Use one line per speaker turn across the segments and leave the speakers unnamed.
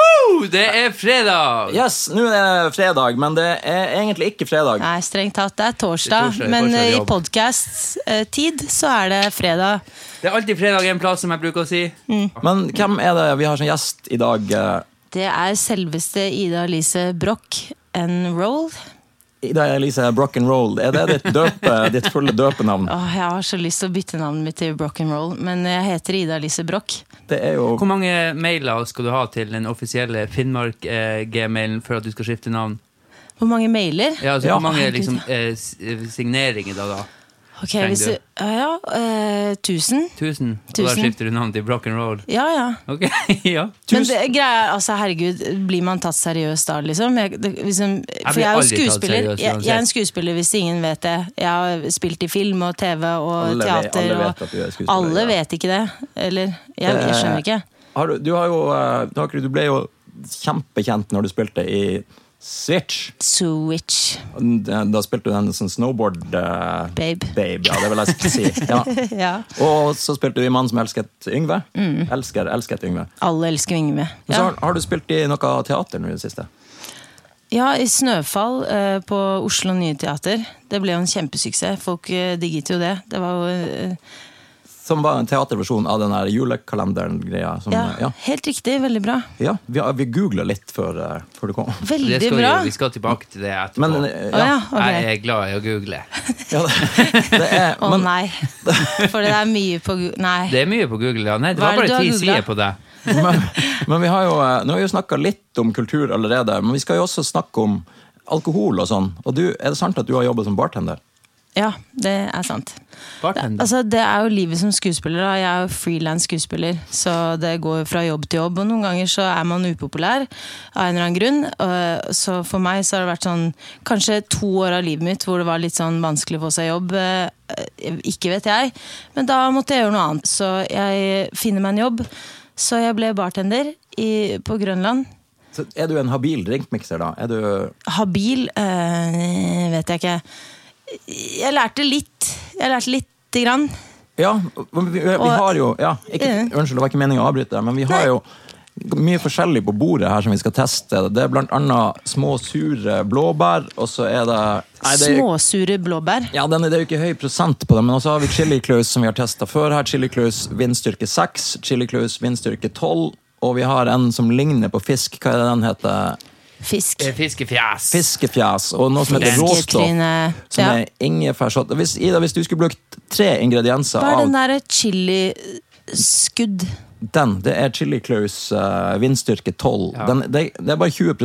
Woo! Det er fredag!
Yes, nå er det fredag, men det er egentlig ikke fredag.
Nei, strengt tatt, det er
Det er
torsdag.
torsdag,
Men
torsdag er
eh, i
jobb.
podkast-tid så er det fredag.
Det er alltid fredag en plass, som jeg bruker å si.
Mm.
Men hvem er det vi har som gjest i dag? eh,
Det er selveste Ida Elise Broch and Roll.
Ida Elise Brock'n'Roll. Er det ditt, døpe, ditt fulle døpenavn?
Åh, jeg har så lyst til å bytte navnet mitt til Broch and Roll, men jeg heter Ida Elise Broch.
Det er jo
Hvor mange mailer skal du ha til den offisielle Finnmark-gmailen før at du skal skifte navn?
Hvor mange mailer?
Ja, altså,
Ja.
Hvor mange liksom, eh, s- eh, signeringer da? da?
Ok, hvis du, ja, ja, eh, tusen.
1000? Og da
Tusen.
skifter du navn til Brock and Roll?
Ja, ja.
Ok, ja.
Men det, greia er, altså, herregud, blir man tatt seriøst da, liksom? Jeg, det, liksom for
blir
jeg er
aldri
jo
tatt
skuespiller.
seriøst
Jeg, jeg er en
uansett.
skuespiller, hvis ingen vet det. Jeg har spilt i film og TV og
Alle vet-
teater.
alle vet
og,
at du er skuespiller,
Alle
ja.
vet ikke det. Eller Jeg, jeg skjønner ikke.
Har du, du har jo eh, du har ikke- Du ble jo kjempekjent når du spilte i Switch.
Switch,
Da da spilte du den sånn snowboard eh,
babe.
Babe, ja, det vil jeg si. Ja.
Ja.
Og så spilte du i Mannen som elsket Yngve. Elsker, elsket Yngve.
Alle elsker Yngve.
Men så
Mm. Ja.
har, har du spilt i noe teater nå i det siste?
ja, i Snøfall eh, på Oslo Nye Teater. Det ble jo en kjempesuksess. Folk eh, digget jo det. Det var jo eh,
Som var en teaterversjon av den der julekalenderen-greia. som-
ja,
Mm, Ja.
helt riktig. Veldig bra.
ja, vi, har- vi googla litt før, eh, før du kom.
Det
Veldig
skal vi,
bra.
vi skal tilbake til det etterpå.
Men eh,
Å ja,
ja.
ok.
Jeg er glad i å google.
ja det, det er,
Å
men
nei. For det er mye på Gu- Nei.
Det er mye på Google. Ja. Nei, det var
Hva er det
bare
du har
ti
googlet?
sider på deg.
men, men vi har jo, eh, nå har vi jo snakka litt om kultur allerede, men vi skal jo også snakke om alkohol og sånn. Og du, er det sant at du har jobba som bartender?
Ja, det er sant.
Bartender.
Altså, det er jo livet som skuespiller. Da. Jeg er jo frilans skuespiller, så det går fra jobb til jobb. Og noen ganger så er man upopulær av en eller annen grunn. Og Så for meg så har det vært sånn kanskje to år av livet mitt hvor det var litt sånn vanskelig å få seg jobb. Eh, Ikke vet jeg. Men da måtte jeg gjøre noe annet. Så jeg finner meg en jobb. Så jeg ble bartender i, på Grønland.
Så er du en habil drinkmikser, da? Er du
Habil eh, vet jeg ikke. Jeg lærte litt. Jeg lærte lite grann.
Ja, men vi, vi har jo ja, ikke,
Mm.
Unnskyld, det var ikke meningen å avbryte, deg, men vi har jo mye forskjellig på bordet her som vi skal teste. Det er blant annet små, sure blåbær, og så er det nei, det er, jo-
Småsure blåbær.
Ja, den, er- det er jo ikke høy prosent på det, men også har vi Chili Claus som vi har testa før her. Chili Claus vindstyrke 6, Chili Claus vindstyrke 12, og vi har en som ligner på fisk. Hva er det den heter?
Fisk.
Eh, Fiskefjes.
Fiskefjes, og noe som heter råstoff.
Fisketryne.
Som
Ja.
er ingefærshot. Hvis, Ida, hvis du skulle brukt tre ingredienser
Hva er
av
den derre chiliskudd?
Den, det er Chili Claus eh, vindstyrke 12. Den, det, det er bare 20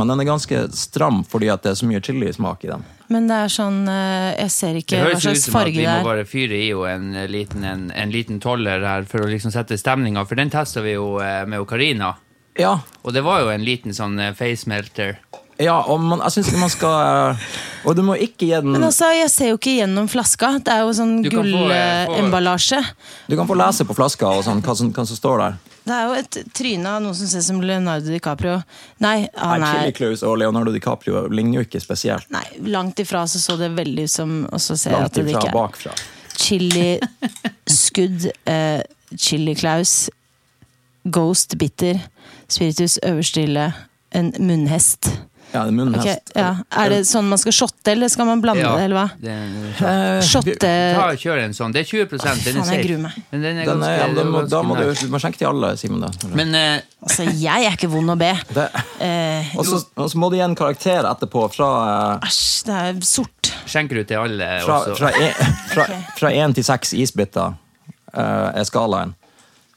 men den er ganske stram fordi at det er så mye chilismak i den.
Men det er sånn eh, Jeg ser
Det
ikke hva
høres ut
slags
som at
farge
vi
det
må
er.
bare fyre i jo en eh, liten, en, en liten toller her for å liksom sette stemninga, for den testa vi jo eh, med jo Karina.
Ja,
Og det var jo en liten sånn eh, facemelter.
ja og man, jeg syns ikke man skal eh, Og du må ikke gi den
Men altså, jeg ser jo ikke gjennom flaska. Det er jo sånn
Du kan få, eh, få-
gullemballasje.
Du kan få lese på flaska og sånn, hva, som, hva som står der.
Det er jo et tryne av noen som ser ut som Leonardo DiCaprio. Nei, han
Nei, Chili
er
Claus og Leonardo DiCaprio ligner jo ikke spesielt.
Nei, langt ifra så så det veldig ut som Og så ser jeg
Langt
at det
ifra
ikke er
bakfra.
chiliskudd, eh, chili Claus, ghost bitter, spiritus øverstille, en munnhest.
Ja, det er munnhest.
Ok, ja. Er det sånn man skal shotte, eller skal man blande det, eller hva?
det-
Eh,
Shotte
Ta og Kjør en sånn. Det er 20 den er
faen, jeg
safe.
gruer meg.
Men den er
den
ganske,
er, ja,
det
da,
er
må, da
ganske
må du,
nice.
du må skjenke til alle, Simen. da.
Men eh,
Altså, jeg er ikke vond å be.
Det-
Eh,
Og så og så må du gi en karakter etterpå fra eh,
Æsj, det er sort.
skjenker du til alle
Fra-
også?
Fra en- fra- fra én til seks isbiter eh, er skalaen.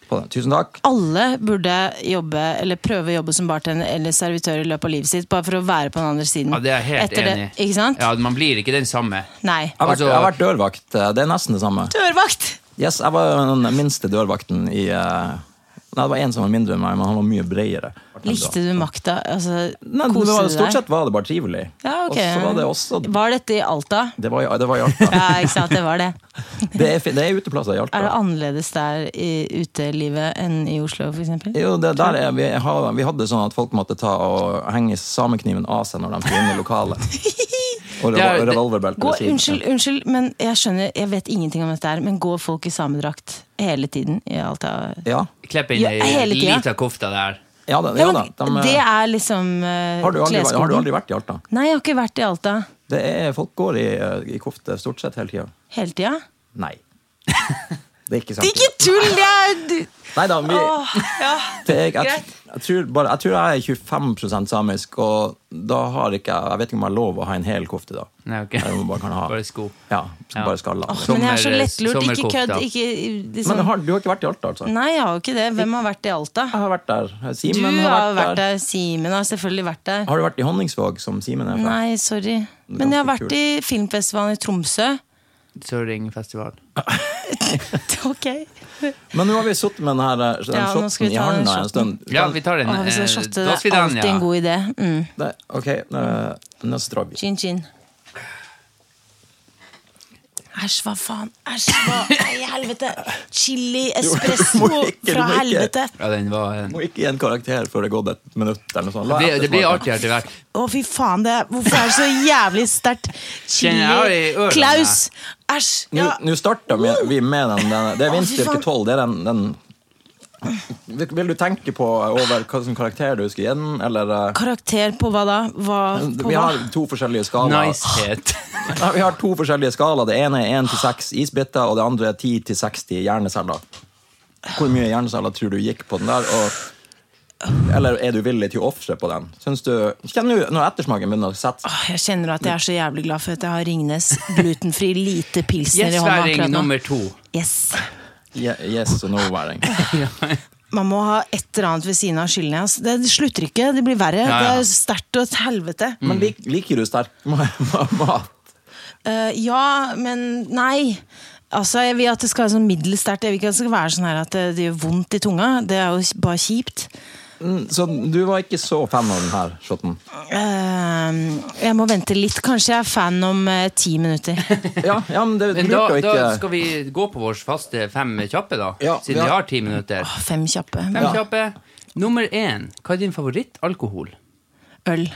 På den. Tusen takk.
Alle burde jobbe, eller prøve å jobbe som bartender eller servitør i løpet av livet sitt, bare for å være på den andre siden.
ja, det er jeg helt
Etter det-
enig i.
Ikke sant?
Ja, man blir ikke den samme.
Nei.
Jeg har, vært,
Altså-
jeg har vært dørvakt. eh, Det er nesten det samme.
Dørvakt!
Yes, jeg var den minste dørvakten i eh, Nei, det var en som var mindre enn meg, men han var mye bredere.
Likte du makta? Altså,
Nei, det var,
koste du
stort
deg?
sett var det bare trivelig.
Ja,
Og
ok.
så var det også
Var dette i Alta?
Det var, i- det var i Alta.
Ja, ikke sant, det var det.
Det er, fi- det er uteplasser i
Er det
Alta.
annerledes der i utelivet enn i Oslo, for eksempel?
Jo, det, der er, vi, har, vi hadde sånn at folk måtte ta og henge samekniven av seg når de skulle inn i lokalet. Og
Det er-
revol- revolverbelte.
Gå,
ved siden.
unnskyld, unnskyld, men jeg skjønner, jeg vet ingenting om dette her, men går folk i samedrakt hele tiden i Alta?
Ja.
Klepp inn
Ja,
ei
hele tida.
lita kofta der.
Ja da.
Ja,
Jo da
men
de,
det er liksom eh,
har, du aldri, vært- har du
kleskoden.
aldri vært i Alta?
Nei, jeg har ikke vært i Alta
Det er, folk går i, eh, i kofte stort sett hele tida.
hele tida.
Nei. Det er ikke sant.
Ikke tull! Det er du-
Nei da, vi,
Åh, ja.
det er, jeg,
greit.
jeg, tror bare, jeg tror jeg er 25 samisk, og da har ikke jeg Jeg vet ikke om jeg har lov å ha en hel kofte da.
Nei, ok.
Jeg må bare kan ha
Bare sko.
Ja, så
Ja.
bare skalla.
Åh, men jeg er så
Sommer-
lettlurt. Ikke kødd.
sommerkofta.
Ikke,
Men
liksom.
det har, du har ikke vært i Alta, altså?
Nei, jeg har jo ikke det. Hvem har vært i Alta?
Jeg har vært der.
Du
Simen
har
har
vært
vært der.
der. Simen har selvfølgelig vært der.
Har du vært i Honningsvåg, som Simen er fra?
Nei, sorry. Men jeg har
Ganske
vært i filmfestivalen i Tromsø.
Søringfestival.
Ok.
Men nå har vi sittet med den her eh, den
Ja, nå
shotten
skal vi
i
ta den
handa en
shotten.
stund.
Ja, vi tar den.
Å, hvis jeg
eh,
shotte,
da skal
det er
vi ta den,
alltid en
ja.
god idé. Mm.
Det- Ok, eh, neste drag.
Chin, chin. Æsj, hva faen? Æsj, hva Nei, helvete! Chili espresso
må ikke, du
fra
må ikke.
helvete!
ja den var, eh,
Må ikke gi en karakter før det er gått et minutt. eller noe sånt. La
det,
etter
det blir
smake.
artig etter hvert.
Å, fy faen, det hvorfor er det så jævlig sterkt?
Kjenner jeg har det i
Chili
ørene.
Klaus! Æsj!
Nå
Ja.
nå starter vi, vi med den, den Det er
Å, fy
vindstyrke
faen.
12. Det er den, den Vil vil du tenke på over hva slags karakter du skal gi den, eller eh,
Karakter på hva da? Hva på
Vi
hva?
har to forskjellige skalaer.
Nicehet.
Ja, vi har to forskjellige skalaer. Det ene er 1 til 6 isbiter, og det andre er 10 til 60 hjerneceller. Hvor mye hjerneceller tror du gikk på den der? Og, eller er du villig til å ofre på den? Syns du Kjenn nå når ettersmaken begynner å sette seg.
Åh, Jeg kjenner at jeg er så jævlig glad for at jeg har Ringnes glutenfri lite pilsner i hånda
Gjesværing
akkurat nå.
nummer to.
Yes.
Je- Yes og no-væring.
Man må ha et eller annet ved siden av skyldene. ass. Det det slutter ikke, det blir verre.
Ja, Mm. ja.
Det er sterkt og et helvete.
Men lik, liker du sterk ma- ma- mat?
Eh, ja, men nei. Altså, Jeg vil at det skal være sånn middels sterkt. Jeg vil ikke at det skal være sånn her at det, det gjør vondt i tunga. Det er jo bare kjipt.
Så du var ikke så fan av den her shotten?
Eh, jeg må vente litt. Kanskje jeg er fan om eh, ti minutter.
Ja, ja men det
Men da,
lurte jo ikke
da skal vi gå på vår faste fem kjappe, da.
Ja,
siden
ja.
vi har ti minutter.
Fem kjappe.
Fem kjappe. Nummer én. Hva er din favorittalkohol?
Øl.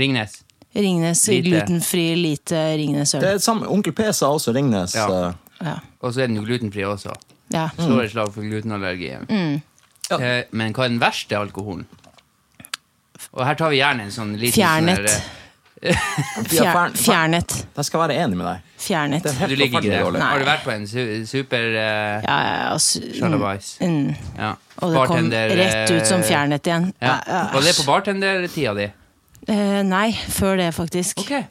Ringnes.
Ringnes
Lite.
glutenfri, lite Ringnes
Det er
øl.
samme, Onkel P sa også Ringnes.
Ja.
eh,
Ja.
Og så er den jo glutenfri også.
ja.
Slår et slag for glutenallergien.
Mm.
Mm.
Ja.
Eh, Men hva er den verste alkoholen? Og her tar vi gjerne en sånn liten
Fjernet.
sånn der, eh,
Ja,
Fjer,
fern-
fjernet.
Jeg skal være enig med deg.
Fjernet.
Det er helt
eh, Du ligger ikke
forferdelig
der.
dårlig.
Har du vært på en su super eh,
Ja, ja, ja, s-
Shalabais?
mm.
Ja.
Og det kom
Bartender, eh,
rett ut som fjernet igjen.
Ja.
Ja,
Og det er på bartendertida di?
Eh, nei, før det, faktisk.
Ok.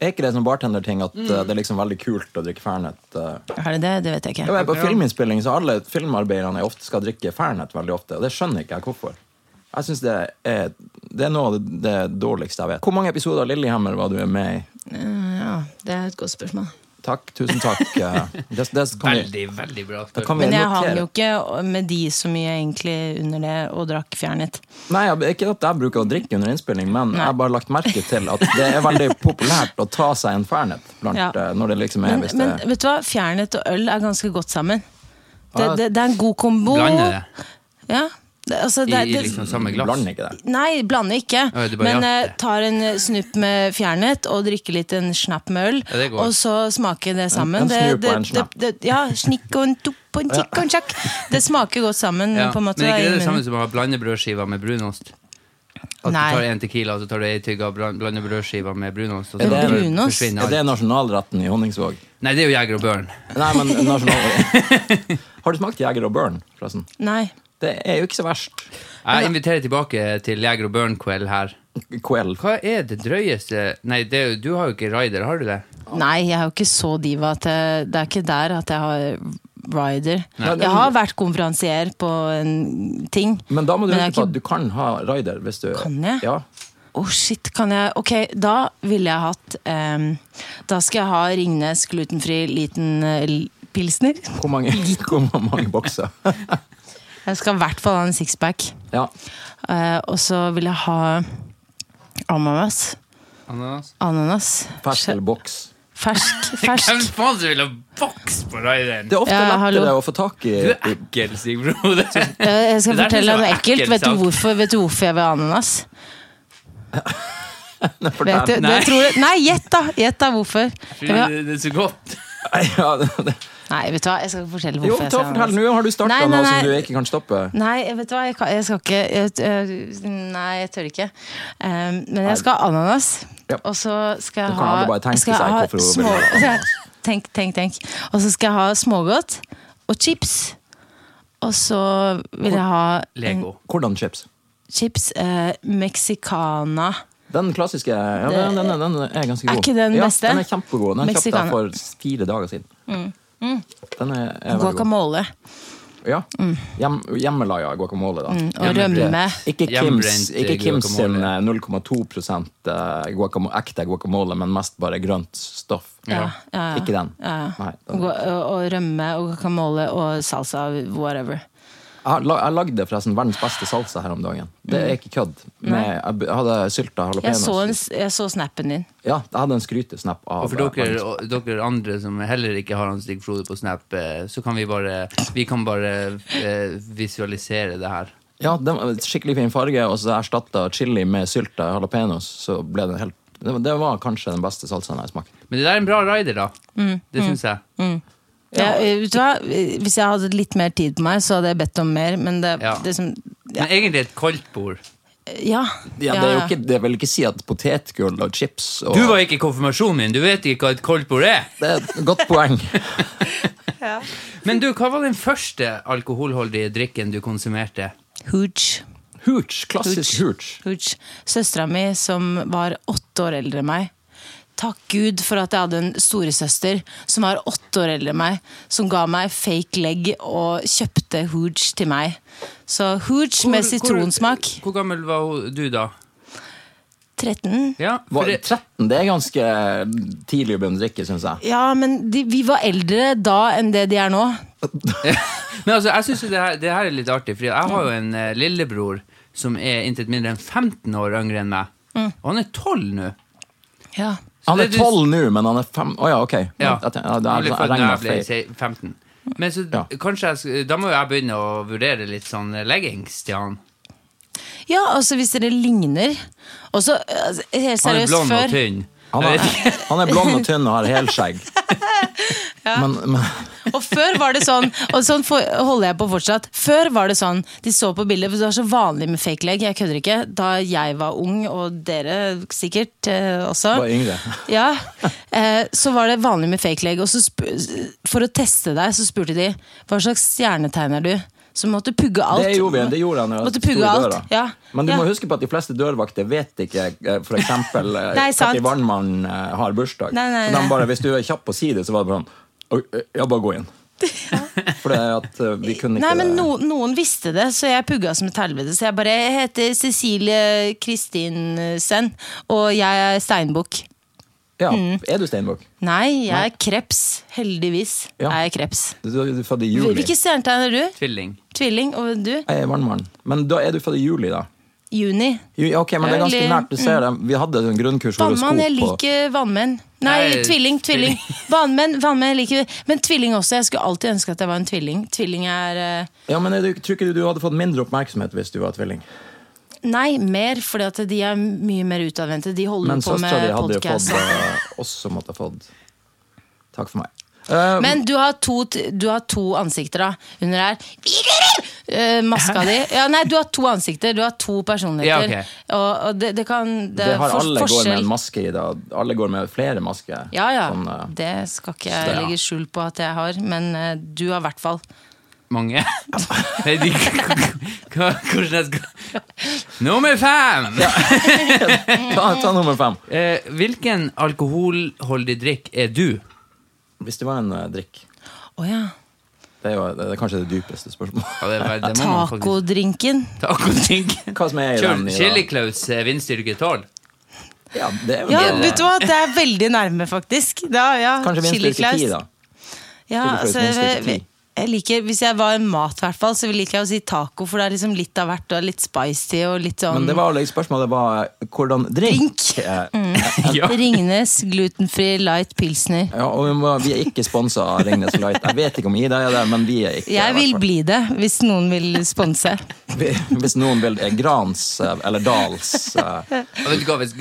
Er ikke det sånn bartenderting at eh, det er liksom veldig kult å drikke Fernet? eh?
Er det det? Det vet jeg
Jeg
ikke.
var på
Ja.
filminnspilling, så alle filmarbeiderne jeg ofte skal drikke Fernet veldig ofte. Og det skjønner ikke jeg hvorfor. Jeg synes det, er, det er noe av det, det dårligste jeg vet. Hvor mange episoder av Lillehammer var du med i?
Eh, ja, det er et godt spørsmål.
Takk, tusen takk. eh, Det, det kan vi,
Veldig, veldig bra.
det kan vi
Men jeg hang
notere.
jo ikke med de så mye egentlig under det, og drakk fjernet.
Nei, jeg, Ikke at jeg bruker å drikke under innspilling, men jeg har bare lagt merke til at det er veldig populært å ta seg en Fernet blant,
Ja.
eh, når det liksom er
Men,
hvis det
men vet du hva, fjernet og øl er ganske godt sammen. Det,
Ja.
det, det er en god kombo.
Blande Ah, det
Ja, det, altså, det,
i, i
det,
liksom samme glass.
Blander ikke det.
Nei, blander ikke.
Å, ja, du bare
Men
gjør det.
eh, tar en eh, snupp med fjernet og drikker litt en snapp med øl.
Ja, det går.
og så smaker det sammen.
En- en snup
Det-
og en
det-
snapp.
det- det- Ja, snikk og en tupp og en tikk og en tjakk. Det smaker godt sammen.
Ja.
på en måte
Men er
da, i
ikke det det samme
munnen.
som å ha blandebrødskiver med brunost? At
Nei.
du tar en tequila og så tar du en tygg av blan- blandebrødskiva med brunost? Og så
Er det-
brunost? forsvinner
Er
alt.
det nasjonalretten i Honningsvåg?
Nei, det er jo Jeger og Børn.
Nei, men nasjonal... Har du smakt Jeger og Børn, forresten?
Nei.
Det er jo ikke så verst.
Jeg inviterer tilbake til Jeger og Børn-kveld her.
Kveld.
Hva er det drøyeste Nei, det er jo, du har jo ikke rider, har du det?
Nei, jeg er jo ikke så diva at jeg, det er ikke der at jeg har rider.
Nei.
Jeg har vært konferansier på en ting.
Men da må du
Men jeg
huske på
er
at du kan ha rider hvis du
Kan jeg?
Ja.
Å, shit, kan jeg Ok, da ville jeg hatt ehm, Da skal jeg ha Ringnes glutenfri liten eh, l- pilsner.
Hvor mange, hvor mange bokser?
Jeg skal i hvert fall ha en sixpack.
Ja.
Eh, og så vil jeg ha ananas.
Ananas?
Ananas.
Fersk eller boks.
Fersk.
Hvem
fersk.
faen som vil ha boks på rideren?
Det er ofte
Ja, hallo.
lettere å få tak i
Du er ekkel, Sigbro.
Eh, Jeg skal
Det der synes
fortelle
jeg
deg noe
var
ekkelt.
ekkelt
Vet du,
sagt.
hvorfor, vet du hvorfor jeg vil ha ananas? Vet du,
Fortell.
det tror du, nei, gjett da! Gjett da hvorfor. Jeg vil ha
Det er så godt.
Ja, det-
Nei, vet du hva, jeg skal ikke fortelle
Jo,
hvorfor jeg
ta
sa
fortell, nå har du starta
Nei, nei,
noe som
nei.
du ikke kan stoppe.
Nei, jeg vet hva, jeg, kan, jeg skal ikke jeg, jeg, Nei, jeg tør ikke. Um, men jeg skal ha ananas.
Ja.
Og så skal
Da
jeg
kan
ha
alle bare tenke
skal jeg
seg
ha
hvorfor hun vil
små-
ha ananas.
Tenk, tenk, tenk. Og så skal jeg ha smågodt og chips. Og så vil jeg ha en
Lego.
Hvordan chips?
chips eh, mexicana.
Den klassiske ja, den, den, den, den er ganske
Er
god.
ikke den
ja,
beste?
Den er kjempegod. Den kjøpte
Mexicana.
jeg for fire dager siden. Mm. Den er, er veldig god.
Guacamole. Mm.
Ja. Hjem, hjemmelaga guacamole, da.
Og eh. rømme.
Ikke Kims,
Hjemmebrent,
ikke Kims sin
guacamole.
eh, 0,2 eh, guacamo- ekte guacamole, men mest bare grønt stoff.
Ja, ja, ja.
Ikke den.
Ja, ja.
Nei,
Og,
den.
og rømme og guacamole og salsa, whatever.
Jeg har la- jeg lagde forresten verdens beste salsa her om dagen. Det er ikke kødd. Med, jeg b- hadde sylta
Mm. Jeg så, en,
jalapeños.
jeg så snappen din.
Ja, jeg hadde en skrytesnap av
Og for
eh,
dere, og dere andre som heller ikke har han Stig Frode på Snap, eh, så kan vi bare, vi kan bare eh, visualisere det her.
Ja, den var skikkelig fin farge, og så erstatta chili med sylta jalapeños. Så ble den helt det var- det var kanskje den beste salsaen jeg har smakt.
Men det der er en bra rider, da.
Mm,
Det syns jeg.
Jeg, vet du hva? Hvis jeg hadde litt mer tid på meg, så hadde jeg bedt om mer. Men det,
Ja.
det som ja.
Men egentlig et kaldt bord.
Ja,
Ja, det, er jo ikke, det vil ikke si at potetgull og chips og
Du var ikke i konfirmasjonen min, du vet ikke hva et kaldt bord er!
Det er et godt poeng.
Men du, hva var den første alkoholholdige drikken du konsumerte?
Hooch.
Hooch. Klassisk hooch.
Hooch. Søstera mi, som var åtte år eldre enn meg. Takk Gud for at jeg hadde en storesøster som var åtte år eldre enn meg, som ga meg fake leg og kjøpte hooch til meg. Så hooch med
Hvor-
sitronsmak.
Hvor, hvor gammel var hun- du da?
13.
Ja, for
Var
det-
13 det er ganske tidlig å begynne å drikke, syns jeg.
Ja, men de, vi var eldre da enn det de er nå.
Men altså, jeg synes jo det her, det her er litt artig, for jeg har jo en eh, lillebror som er intet mindre enn 15 år yngre enn meg. Og han er 12 nå.
Ja.
Så
Han er
det du-
12 nå, men han er 5 Å ja, ok. Jeg tenker- ja, det
han
er-
ble
jeg
født da
regner
jeg ble
feil.
se- 15. Men så
Ja.
kanskje jeg, sk- da må jo jeg begynne å vurdere litt sånn leggings til han.
Ja, altså hvis dere ligner Og så, altså, helt
Han er
seriøst,
blond og
før
tynn.
Han
Jeg
er,
vet ikke.
han er blond og tynn og har helskjegg. Men, men
Og før var det sånn, og sånn for, holder jeg på fortsatt Før var det sånn, de så på bildet For det var så vanlig med fake leg, jeg kødder ikke Da jeg var ung, og dere sikkert eh, også
Var yngre.
Ja, eh, så var det vanlig med fake leg Og så sp- for å teste deg så spurte de Hva slags stjernetegn er du? Så måtte du pugge alt
det gjorde vi. Det gjorde han jo.
Måtte
sto i
pugge alt,
døra.
ja.
Men du
Ja.
må huske på at de fleste dørvakter vet ikke eh, for eksempel eh,
Nei, sant.
når vannmannen eh, har bursdag.
Nei, nei,
Så de
nei.
bare, hvis du er kjapp på å si det, så var det bare sånn «Oi, eh, Ja, bare gå inn. For det at eh, vi kunne ikke
Nei, men
det.
no, noen visste det, så jeg pugga som et helvete. Så jeg bare jeg heter Cecilie Kristinsen, og jeg er steinbukk.
Ja,
Mm.
Er du steinbukk?
Nei, jeg er kreps. Heldigvis
Ja.
er jeg kreps.
Du, du, du er født i juli.
Hvilket stjernetegn er du?
Tvilling.
Tvilling. Og du?
Jeg er vannmann. Men da er du født i juli, da.
Juni.
Jo, ja, Ok, men det er ganske
Eller-
nært. Du ser det. Vi hadde en grunnkurs
Mm. Vannmann. Jeg
horoskop. og-
liker vannmenn. Nei,
Nei,
tvilling. Tvilling. Vannmenn, vannmenn jeg liker Men tvilling også. Jeg skulle alltid ønske at jeg var en tvilling. Tvilling er eh,
Ja, men er du, Tror ikke du du hadde fått mindre oppmerksomhet hvis du var tvilling?
Nei, mer, fordi at de er mye mer utadvendte. De holder
Men
på
søstera di
med
hadde jo fått
podkast.
eh, også måtte ha fått Takk for meg. Eh,
Men du har to, t- du har to ansikter da under her. Eh, maska di. Ja, nei, du har to ansikter. Du har to personligheter.
Ja, ok.
Og, og det, det kan Det,
det
er
har
for,
alle går med
forskjell.
en maske i dag. Alle går med flere masker.
ja, ja.
Sånn, eh,
det skal ikke
så
jeg
ja.
legge skjul på at jeg har, men eh, du har i hvert fall.
Mange. Nei, de- hva- Hvordan jeg skal Nummer fem!
ta, ta nummer fem.
Eh, hvilken alkoholholdig drikk er du?
Hvis det var en eh, drikk
Å ja.
det er, jo, det er kanskje det dypeste spørsmålet.
Ja, det, er- det må man faktisk-
Tacodrinken.
Tacodrinken.
Hva som er i den i dag?
Chili Claus eh, vindstyrke 12.
Ja, det er jo
Ja,
det.
vet du hva, det er veldig nærme, faktisk. Da, ja.
Kanskje minst
Chili
like
Claus.
ti, da. Chili
Ja,
Claus
altså,
minst like
jeg,
ti.
jeg liker, Hvis jeg var en mat, hvert fall, så liker jeg å si taco, for det er liksom litt av hvert. Og litt spicy og litt sånn
Men det var liksom spørsmålet var eh, hvordan drink
Drink.
eh,
Ja.
Ringnes glutenfri light pilsner.
Ja, og vi, må, vi er ikke sponsa av Ringnes Light. Jeg vet ikke om Ida er det, men vi er ikke
Jeg
i
vil
hvert
bli det, hvis noen vil sponse.
fall. Vi- Hvis noen vil eh, Grans eh, eller Dals eh,
Og vet du hva, hvis,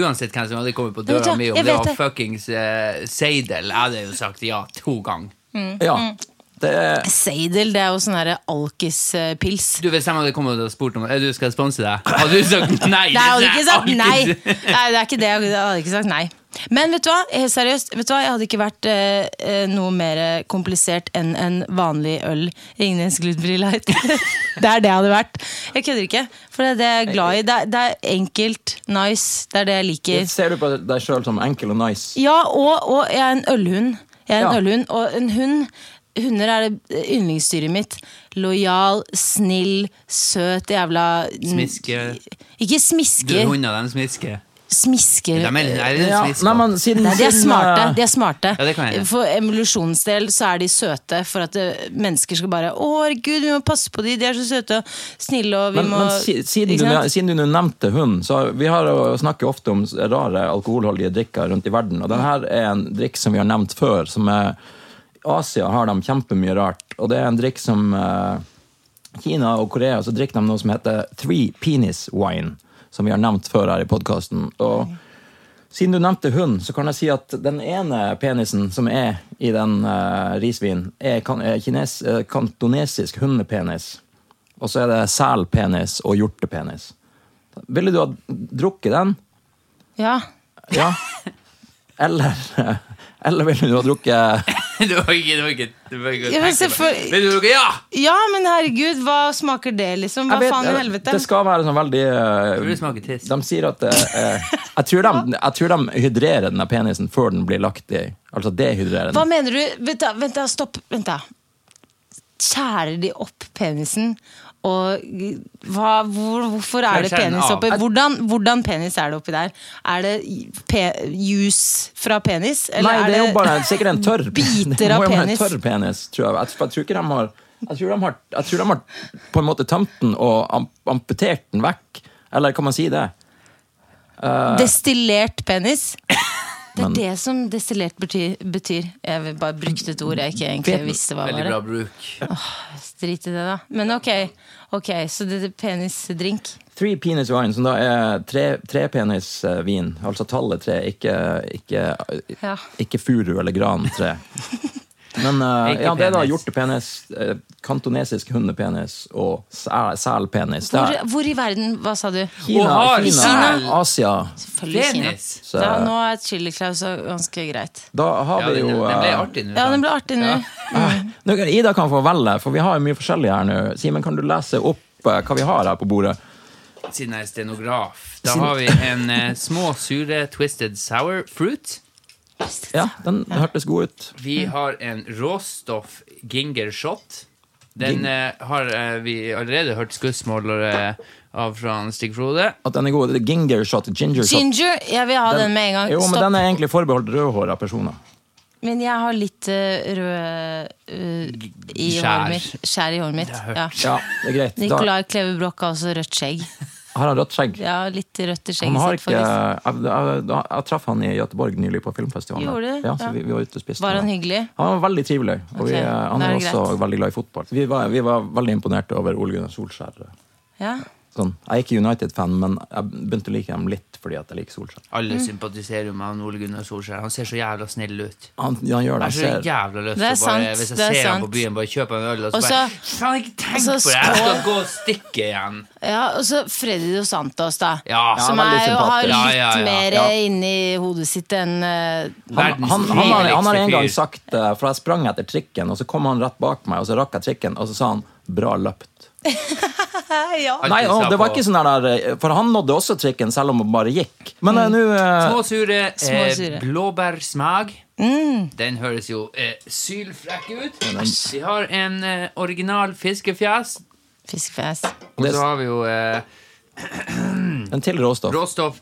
uansett hvem som hadde kommet på
Jeg vet
døra
det,
mi om
jeg
det
vet
var
det.
fuckings eh, Seidel, jeg hadde jo sagt ja to ganger.
Ja. Det er
Seidel, det er jo sånn her alkispils.
Du, Hvis de hadde kommet og spurt om eh, du skal sponse deg, hadde du sagt nei?
Nei, jeg hadde ikke sagt nei!
det er alkis.
nei det er ikke det. Jeg hadde ikke sagt nei. Men vet du hva, helt seriøst, vet du hva? jeg hadde ikke vært eh, eh, noe mer komplisert enn en vanlig øl. Ringnes Gluten-Fri Light. det er det jeg hadde vært. Jeg kødder ikke. For det er det jeg er glad i. Det er, det er enkelt, nice. Det er det jeg liker.
Ser du på deg sjøl som enkel og nice?
Ja, og, og jeg er en ølhund. Jeg er en
Ja.
ølhund, og en hund Hunder er det yndlingsdyret mitt. Lojal, snill, søt, jævla
Smiske. Du,
Ikke smisker.
Hundene, de smisker.
Smisker.
De er, litt- er litt
Ja,
smisker.
nei, men siden,
Nei, de er
siden,
smarte.
eh,
De er smarte.
Ja, det kan jeg gjøre.
for evolusjonens del så er de søte, for at eh, mennesker skal bare Å, herregud, vi må passe på de, de er så søte og snille, og vi
Men,
må
men si- siden,
Ikke
du,
sant?
siden du nå nevnte hund, så vi har jo snakket ofte om rare alkoholholdige drikker rundt i verden, og denne her er en drikk som vi har nevnt før, som er Asia har de kjempemye rart, og det er en drikk som eh, Kina og Korea, så drikker de noe som heter Three Penis Wine, som vi har nevnt før her i podcasten, og siden du nevnte hund, så kan jeg si at den ene penisen som er i den eh, risvinen, er, kan, er kines, eh, kantonesisk hundepenis. Og så er det selpenis og hjortepenis. Ville du ha drukket den?
Ja.
Ja. Eller, eller ville du ha drukket
det var ikke det var ikke, det var ikke
Ja, men
tenke på.
selvfølgelig-
Vet du hva- Ja!
ja, men herregud, hva smaker det, liksom? Hva
Jeg vet-
faen i
jeg-
helvete?
Det skal være sånn veldig eh,
Tror det smaker tiss.
De sier at eh, eh, jeg, tror de, jeg tror de hydrerer denne penisen før den blir lagt i. Altså dehydrerer
Hva
den.
mener du? Vent, da, vent da, stopp. Vent da. Skjærer de opp penisen? Og hva, hvor, hvorfor er det
Skjærer den
penis
av.
oppi? Hvordan, hvordan penis er det oppi der? Er det pe juice fra penis? Eller
Nei, det er jo
det-
bare sikkert en tørr
Biter
det
av
må jo være en
penis.
Tørr penis tror jeg. Jeg, jeg tror ikke de har jeg tror de, har, jeg tror de har på en måte tømt den og am- amputert den vekk. Eller kan man si det?
Destillert penis? Det er det som destillert betyr. betyr. Jeg vil bare brukte et ord jeg ikke egentlig
Vet-
visste hva
Veldig bra
var.
bruk.
Drit i det, da. Men ok, ok, så det er penisdrink.
Three penis wine, som da er tre- trepenisvin. altså tallet tre, ikke, ikke,
Ja.
ikke furu eller gran tre. Men eh,
Ikke
ja, det er da
penis.
hjortepenis, eh, kantonesisk hundepenis og sæ- selpenis. Det
Hvor,
er
hvor i verden? Hva sa du?
Kina,
Og har
Kina,
sel-
Asia.
Selvfølgelig Kina.
Penis.
Så-
Ja, nå er Chili Claus ganske greit.
Da har
Ja,
vi
den,
jo
den ble
eh,
artig nå.
Ja,
sant?
den ble artig nå.
Ja.
Eh, nå kan- Ida kan få velge, for vi har jo mye forskjellig her nå. Simen, kan du lese opp eh, hva vi har her på bordet?
Siden jeg er stenograf. Da
Siden-
har vi en eh, små, sure Twisted Sour Fruit.
Ja, Den hørtes god ut.
Vi har en råstoff ginger shot. Den
Gin-
eh, har eh, vi allerede hørt skussmål eh, av fra han Stig Frode.
At den er god. Det er ginger shot, ginger shot.
Ginger, jeg vil ha den, med en gang.
Jo, men
Stopp.
den er egentlig forbeholdt rødhåra personer.
Men jeg har litt eh, rød eh, i
Skjær.
håret mitt. Skjær i håret mitt.
har jeg
Ja.
Ja, det er greit. Da
Nicolai Kleve Broch har også rødt skjegg.
har han rødt skjegg.
Ja, litt rødt i
Han
skjegget
har
sitt,
ikke, jeg,
faktisk.
jeg, jeg, jeg traff han i Gøteborg nylig på filmfestivalen.
Gjorde du?
Ja, så
Ja.
vi, vi var ute og spiste.
Var
med
han hyggelig?
Han var veldig trivelig, og vi, eh,
Ok,
han
da er
er
det
også veldig glad i fotball. Vi var, vi var veldig imponert over Ole Gunnar Solskjær. eh,
Ja.
Sånn, jeg er ikke United-fan, men jeg begynte å like dem litt fordi at jeg liker Solskjær.
Alle sympatiserer jo med han Ole Gunnar Solskjær. Han ser så jævla snill ut.
Han, han gjør
Jeg
Altså,
det.
har så
Jeg ser.
jævla lyst
Det er
til å bare,
sant,
hvis jeg
det er
ser han
sant.
på byen, bare kjøpe en øl og så
Og så-
bare Faen, ikke tenk
og så
på det! Jeg skal
skål.
gå og stikke igjen.
ja, Og så Freddy Dos Santos, da.
Ja,
som
veldig
er, jo har
sympatisk.
Ja,
litt
ja, ja.
mer
Ja.
eh, inni hodet sitt enn eh,
Han, han, han, har,
triveligste
han har en gang
fyr.
sagt eh, For jeg sprang etter trikken, og så kom han rett bak meg, og så rakk jeg trikken, og så sa han 'bra løpt'.
ja.
Alltid
Nei, å,
sa
det var
på-
ikke sånn der eh, For han nådde også trikken, selv om han bare gikk. Men
Mm.
eh, nå eh,
Små sure, Mm. eh,
Småsure.
blåbærsmak. Den høres jo eh, sylfrekk ut. Vi har en eh, original fiskefjes.
Fiskefjes.
Og
Det-
så har vi jo eh,
En til råstoff.
råstoff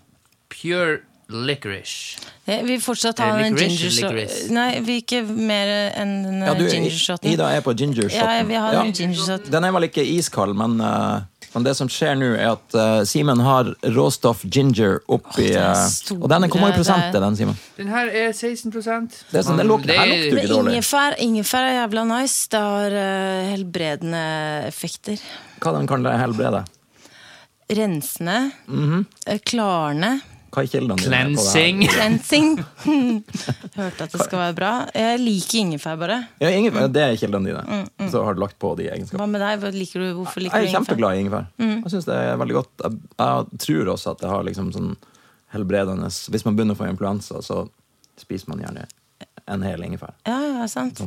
pure licorice.
Eh, Vi fortsatt har
Eh,
en
licorice
ginger
eller
shot.
licorice?
Nei, vi ikke mer enn den
Ja, du, I-
ginger shoten.
Ida er på ginger
Ja,
shoten.
vi har
Ja.
en ginger shot.
Den er vel ikke iskald, men, eh, men det som skjer nå, er at eh, Simen har råstoff ginger oppi
Åh, det er
eh,
store-
Og den er, hvor mange
det
prosent
er-
er den, Simen?
Den her er 16 Det
er sånn, det lukter- her lukter jo ikke
Men
dårlig.
ingefær, ingefær er jævla nice. Det har eh, helbredende effekter.
Hva den kan helbrede? Mhm.
Rensende. eh, Klarende.
Hva er kildene dine? på det her?
Cleansing.
Cleansing. Hørte at det skal være bra. Jeg liker ingefær, bare.
Ja, ingefær, det er kildene dine.
Mm,
Så har du lagt på de egenskapene.
Hva med deg? Hva liker du, hvorfor liker
Jeg
du
er
ingefær?
kjempeglad i ingefær.
Mm.
Jeg synes det er veldig godt. Jeg, jeg tror også at det har liksom sånn helbredende Hvis man begynner å få influensa, så spiser man gjerne en hel ingefær.
Ja, ja, sant.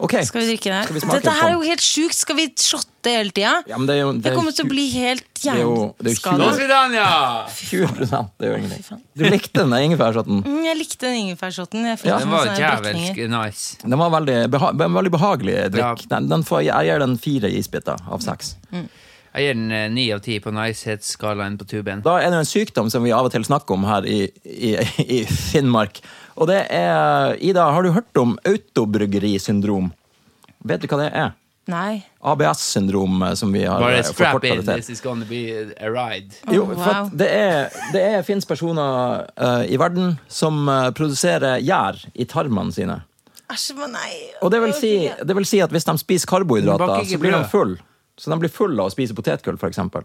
Ok,
Skal vi drikke
Sånn.
det?
Skal vi
her?
smake
Dette her
på
er jo helt sjukt! Skal vi shotte hele tida?
den? ja, men det er jo, det
Jeg
er
kommer til å
tju-
bli helt
er jo- det er jo
Nå
hjerneskada.
skal vi Danja!
20 Det er jo ingenting.
faen.
Du likte den der ingefærshotten.
Mm, Jeg likte den ingefærshotten. Jeg fikk
Ja.
sånn
Den var
sånne brekninger.
jævelsk nice.
Den var veldig, beha en veldig behagelig drikk.
Ja.
Den, den får, jeg gir den fire isbiter av seks.
Mm.
Jeg gir den eh, ni av ti på nicehetsskalaen på tuben.
Da er det jo en sykdom som vi av og til snakker om her i, i, i Finnmark. Og det er Ida, har du hørt om autobryggerisyndrom? Vet du hva det er?
Nei.
ABS-syndrom, eh, som vi har
Bare
eh,
strap
forkortet
in,
det til.
this is gonna be a ride.
Jo, for
Oh, wow.
at det, er, det er, finnes personer eh, i verden som eh, produserer gjær i tarmene sine.
Æsj, men nei.
Og det vil, si, det vil si at hvis de spiser
Men
karbohydrater,
baker ikke
så blir de
brød.
full. Så de blir full av å spise potetgull, for eksempel.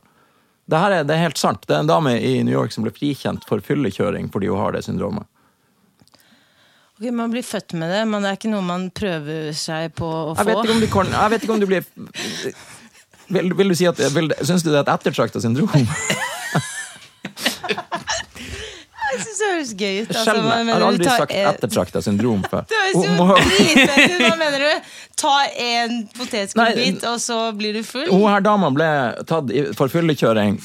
Det her er, det er helt sant. Det er en dame i New York som ble frikjent for fyllekjøring fordi hun har det syndromet.
Ok, man blir født med det, men det er ikke noe man prøver seg på å
Jeg
få.
vet ikke om du, kan, jeg vet ikke om du blir vil, vil du si at vil, Syns du det er et ettertrakta syndrom?
Jeg synes det høres gøy ut. altså,
Sjelden.
men-
Jeg har
men
aldri
ta-
sagt
eh,
ettertrakta syndrom før.
Det høres
Hun
jo
må-
dritfett ut! Hva mener du? Ta en
Nei,
potetgullbit, og så blir du full?
Hun her dama ble tatt i- for fyllekjøring.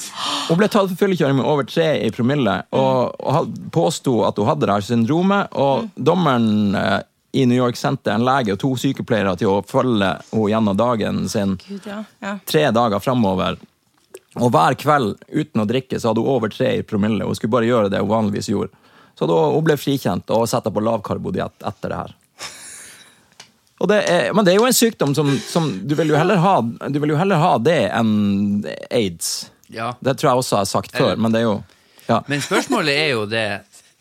Hun ble tatt for fyllekjøring med over tre i promille, og,
Mm.
og had- påsto at hun hadde det her syndromet. Og dommeren eh, i New York sendte en lege og to sykepleiere til å følge henne gjennom dagen sin
Gud, ja. ja.
tre dager framover. Og hver kveld uten å drikke så hadde hun over tre i promille. Hun skulle bare gjøre det hun vanligvis gjorde. Så da, hun ble frikjent og satt på lavkarbodiett etter det her. Og det er, men det er jo en sykdom som, som du, vil jo heller ha, du vil jo heller ha det enn aids.
Ja.
Det tror jeg også jeg har sagt før, men det er jo ja.
Men spørsmålet er jo det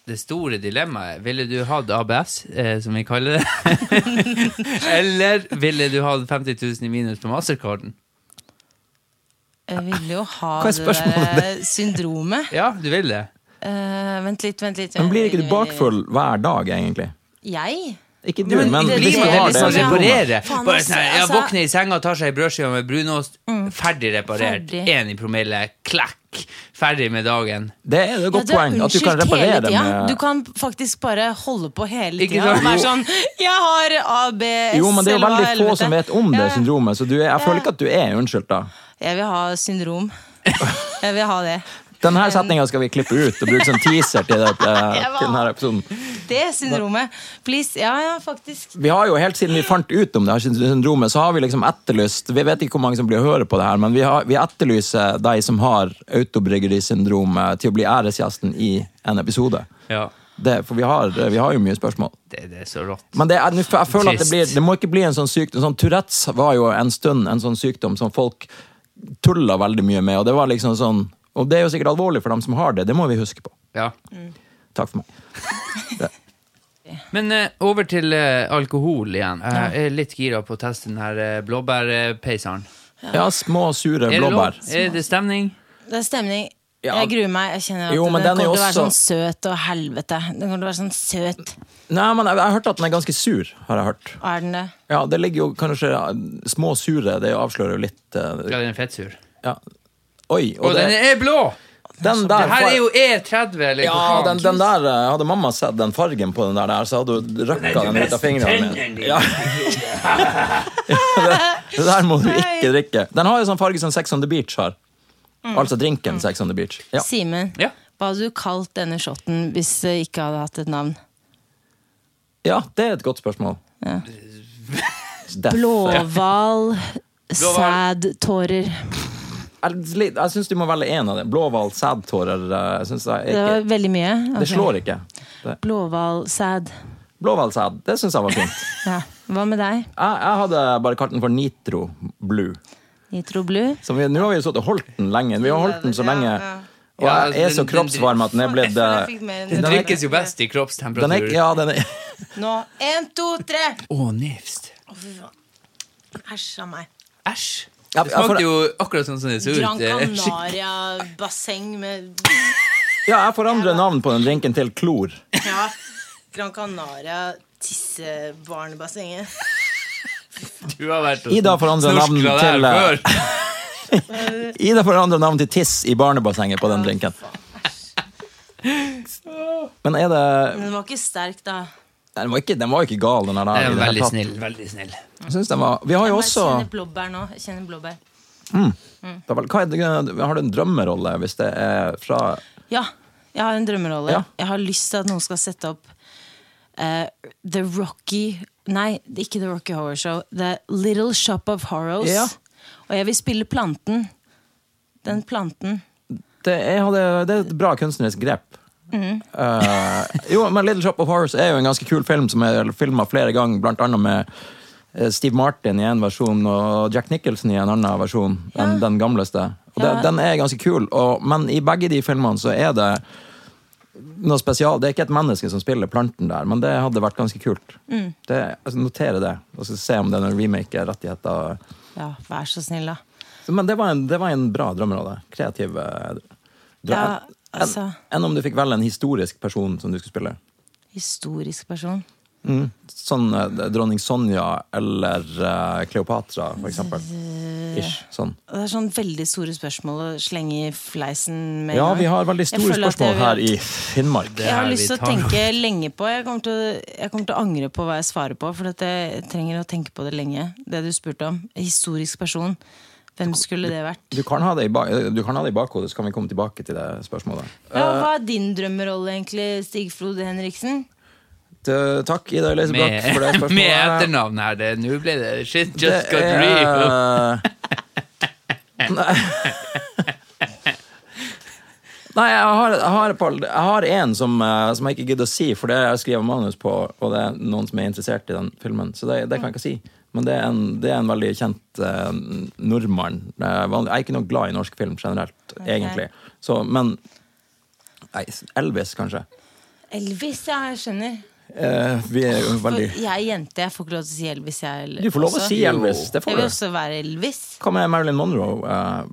det store dilemmaet. Ville du hatt ABS, eh, som vi kaller det? Eller ville du hatt 50 000 i minus på mastercarden?
Jeg ville jo ha
Hva er
det
spørsmålet?
der syndromet.
Ja, du vil det?
Eh, vent litt, vent litt.
Men blir ikke du
vent litt, vent litt.
bakfull hver dag, egentlig?
Jeg?
Ikke du, men,
det-
blir man det
hvis du har
det-
det
hvis man
liksom-
syndromet-
reparerer?
Faen,
Bare
altså,
sånn, ja,
altså- Mm.
Våkner i senga, tar seg en brødskive med brunost, ferdig reparert.
Ferdig.
Én i promille, klakk, ferdig med dagen.
Det er et
Ja,
godt poeng. At du kan
unnskyldt
reparere
hele
det
tida.
med
Du kan faktisk bare holde på hele
Ikke
tida.
sant?
Og være sånn 'Jeg har ABS',
Jo, men det er jo
eller hva
veldig få
helvete.
som vet om
E Ja,
det
ja.
syndromet, så du er, jeg føler
Ja.
ikke at du er unnskyldt da.
Jeg vil ha syndrom. Jeg vil ha det.
Denne setninga skal vi klippe ut og bruke som teaser til, det, til denne episoden.
Det syndromet. Please. Ja, ja, faktisk.
Vi har jo Helt siden vi fant ut om det her syndromet, så har vi liksom etterlyst Vi vet ikke hvor mange som blir å høre på det her, men vi, har, vi etterlyser de som har autobryggerisyndromet, til å bli æresgjesten i en episode.
Ja,
Det, for vi har, vi har jo mye spørsmål.
det, det er så rått.
Men det, er, jeg føler at det,
Trist.
blir, det må ikke bli en sånn sykdom. Sånn, Tourettes var jo en stund en sånn sykdom som folk tulla veldig mye med. Og det, var liksom sånn, og det er jo sikkert alvorlig for dem som har det, det må vi huske på.
Ja.
Takk for meg.
Men eh, over til eh, alkohol igjen. Jeg er litt gira på å teste den her eh, blåbærpeiseren.
Ja, små, sure
Er det lov?
blåbær.
Er det stemning?
Det er stemning.
Ja.
Jeg gruer meg. Jeg kjenner at
Jo, men
den,
den er jo
kommer til å være
også-
sånn søt og helvete. Den kommer til å være sånn søt.
Nei, men jeg, jeg har hørt at den er ganske sur, har jeg hørt.
Er den det?
Ja, det ligger jo kanskje ja, Små sure, det avslører jo litt eh,
Ja, den er fettsur.
ja. Oi,
Og
og det,
den er blå!
den der
Det her er
far-
jo E30, eller
ja,
hva faen?
den, den der, eh, Hadde mamma sett den fargen på den der, der så hadde hun røkka den ut av fingrene mine. Ja. Det der må du ikke drikke. Den har jo sånn farge som Sex on the Beach har.
Mm.
Altså drinken Sex on the Beach. Ja.
Simen,
Ja.
hva hadde du kalt denne shotten hvis det ikke hadde hatt et navn?
ja, det er et godt spørsmål. Death.
Blåhval,
Blåhval.
sædtårer.
Jeg, sli- jeg syns du må velge én av dem. Blåhval, sædtårer eh, jeg synes jeg
Det var
ikke,
veldig mye.
Det
Ok.
slår ikke. Det-
Blåhval, sæd.
Blåhval, sæd. Det syns jeg var fint.
Ja. Hva med deg?
Jeg, jeg hadde bare kalt den for Nitro Blue.
Nitro Blue?
Så vi, nå har vi jo sittet og holdt den lenge. Vi har holdt den så lenge. Og
Ja,
jeg er
den-
så
den-
kroppsvarm at den er blitt
Jeg føler
eh,
jeg fikk mer enn
Den
det.
drikkes jo best i
den er,
kroppstemperatur.
Ja, den er
Nå. En, to, tre!
Å, nifst.
Æsj av meg.
Æsj. Det
Ja, for-
smakte jo akkurat sånn som det så ut.
Gran
eh, skikkelig.
Canaria-basseng med
Ja, jeg forandrer navn på den drinken til klor.
Ja. Gran Canaria tissebarnebassenget.
Du har vært og
Ida forandrer navn
snorskla der
til, eh,
før.
Ida forandrer navn til Tiss i barnebassenget på den drinken. Men er det
Men den var ikke sterk, da.
Nei, Den var ikke, den var ikke gal, den her. da,
Jeg er
i det hele
veldig
tatt.
snill. Veldig snill.
Jeg synes den Mm. var Vi har jo
Jeg
også
kjenner blåbær nå. Jeg kjenner blåbær.
da vel, hva er det, Har du en drømmerolle hvis det er fra
Ja, jeg har en drømmerolle.
Ja.
Jeg har lyst til at noen skal sette opp eh, The Rocky Nei, det er ikke The Rocky Horror Show. The Little Shop of Horrors.
Ja.
Og jeg vil spille planten. Den planten.
Det er, hadde, det er et bra kunstnerisk grep. Eh, jo, men Little Shop of Horrors er jo en ganske kul film som er filma flere ganger, blant annet med eh, Steve Martin i en versjon og Jack Nicholson i en annen versjon. Den, den gamleste. Og det,
Ja.
Den er ganske kul, og, men i begge de filmene så er det noe spesial. Det er ikke et menneske som spiller planten der, men det hadde vært ganske kult.
Mm.
Det, altså, notere det, og så se om det er noen remake-rettigheter.
Ja, vær så snill, da.
Så, Men det var en, det var en bra drømmerolle. Kreativ eh, drøm.
Ja,
En-
altså.
Enn om du fikk velge en historisk person som du skulle spille.
Historisk person.
Sånn eh, dronning Sonja eller eh, Kleopatra, for eksempel. Ish, sånn.
Det er sånn veldig store spørsmål å slenge i fleisen med en
Ja,
gang.
vi har veldig
Jeg
store
føler at jeg
spørsmål
vil-
her i Finnmark.
Det
Jeg
er
har
her
lyst
vi
til å
tar noe.
tenke lenge på. Jeg kommer, til å, jeg kommer til å angre på hva jeg svarer på, for at jeg trenger å tenke på det lenge. Det du spurte om. Historisk person. Hvem skulle det vært?
Du kan ha det i, ba du kan ha det i bakhodet, så kan vi komme tilbake til det spørsmålet.
Ja, hva er din drømmerolle, egentlig, Stig Frode Henriksen?
Eh, takk, Ida Elise Brakk, for det
Med,
spørsmålet.
med etternavn her. det- Nå ble det Shit just got
det er,
real.
Nei. Nei, jeg har, jeg har, et par- jeg har en som, eh, som jeg ikke gidder å si, for det er jeg skriver manus på, og det er noen som er interessert i den filmen, så det, det kan jeg ikke si. Men det er en, det er en veldig kjent eh, nordmann. Eh, vanlig- Jeg er ikke noe glad i norsk film generelt, egentlig. Så, men nei, Elvis, kanskje.
Elvis, ja, jeg skjønner.
Eh, vi er jo
For
veldig
jeg er jente, jeg får ikke lov til å si Elvis. Jeg, eller-
Du får lov å
også.
si Elvis. Det
Jeg
får
vil
du.
også være Elvis.
Hva med Marilyn Monroe? Eh,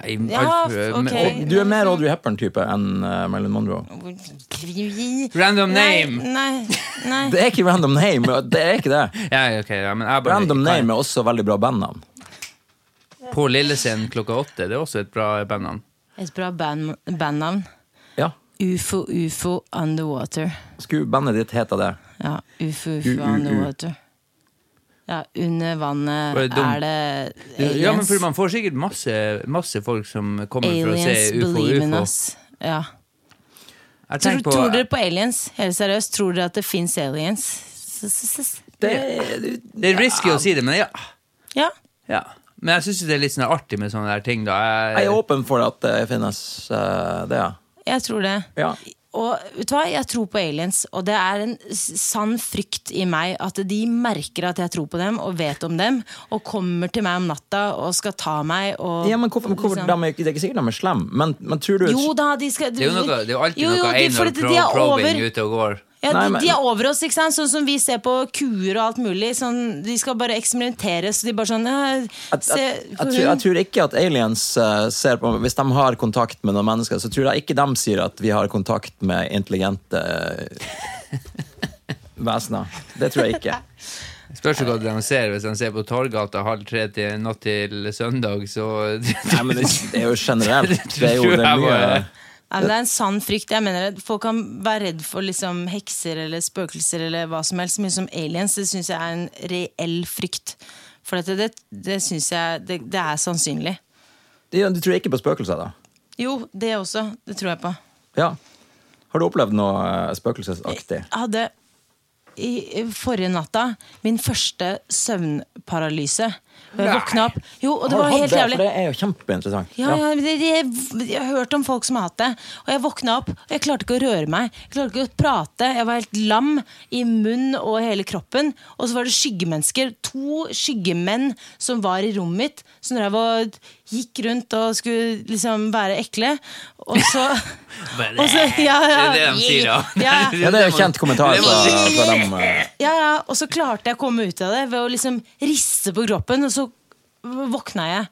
Nei,
Ja,
alt for-
ok.
men-
Du er mer Audrey Hepburn-type enn eh, Marilyn Monroe.
Random
Nei,
name.
Nei, nei.
Det er ikke random name. det er ikke det.
Ja, ok, ja, men jeg bare,
Random name er også veldig bra bandnavn.
På Lillescenen klokka åtte. Det er også et bra bandnavn.
Et bra band- bandnavn.
Ja.
Ufo Ufo Underwater.
Skulle bandet ditt heta det?
Ja, ufo,
U, u,
ufo
u.
underwater. Ja, under vannet
Var det dumt?
er det aliens.
Ja, men for Man får sikkert masse, masse folk som kommer for å
aliens
se UFO.
believe in
UFO.
us. Ja.
Jeg
Tror,
tenker på-
tror dere på aliens? Helt seriøst, tror dere at det fins aliens? S- s- s-
det
Det er risky å si det, men ja.
Ja.
ja. Men jeg syns det er litt sånn artig med sånne der ting, da. Jeg,
jeg er åpen for at det finnes eh, det, ja.
Jeg tror det.
Ja.
Og vet du hva, jeg tror på aliens, og det er en s- sann frykt i meg at de merker at jeg tror på dem og vet om dem, og kommer til meg om natta og skal ta meg og
ja men hvorfor, hvorfor,
liksom-
de er, ikke- Det er ikke sikkert de er slem, men, men tror du
Jo da, de skal
det er jo noe, det er jo alltid
Jo, jo,
noe
de- for
anal
at de
pro
er
probing
over-
ute og går.
Ja,
Nei,
de,
men-
de er over oss, ikke sant? Sånn som vi ser på kuer og alt mulig. Sånn, de skal bare eksperimentere, så de bare sånn eh,
jeg,
se,
jeg, jeg, tror, jeg tror ikke at aliens eh, ser på Hvis de har kontakt med noen mennesker, så tror jeg ikke de sier at vi har kontakt med intelligente eh, vesener. Det tror jeg ikke.
Spørs jo hva de ser. Hvis de ser på Torgata halv tre til natt til søndag, så
Nei, men det, det er jo generelt. Det er jo det er mye
Ja, men det er en sann frykt. Jeg mener at Folk kan være redd for liksom, hekser eller spøkelser eller hva som helst. Men som aliens det syns jeg er en reell frykt. For dette, det, det syns jeg det, det er sannsynlig.
Du, du tror ikke på spøkelser, da?
Jo, det også. Det tror jeg på.
Ja. Har du opplevd noe eh, spøkelsesaktig?
Jeg hadde i, i forrige natta min første søvnparalyse. Og jeg
Nei.
våkna opp Jo, og det
Har
var
du hatt
helt jævlig.
For det er jo kjempeinteressant.
Ja, ja. men det- det- jeg har hørt om folk som har hatt det. Og jeg våkna opp, og jeg klarte ikke å røre meg. Jeg klarte ikke å prate. Jeg var helt lam i munn og hele kroppen. Og så var det skyggemennesker. To skyggemenn som var i rommet mitt. Som drev og gikk rundt og skulle liksom være ekle. Og så
Bare-
og så- ja,
Det
ja.
er det de sier, da.
Ja, ja.
Ja, det er jo kjent kommentar fra, fra dem. eh.
Ja, ja, og så klarte jeg å komme ut av det ved å liksom riste på kroppen, og så våkna jeg.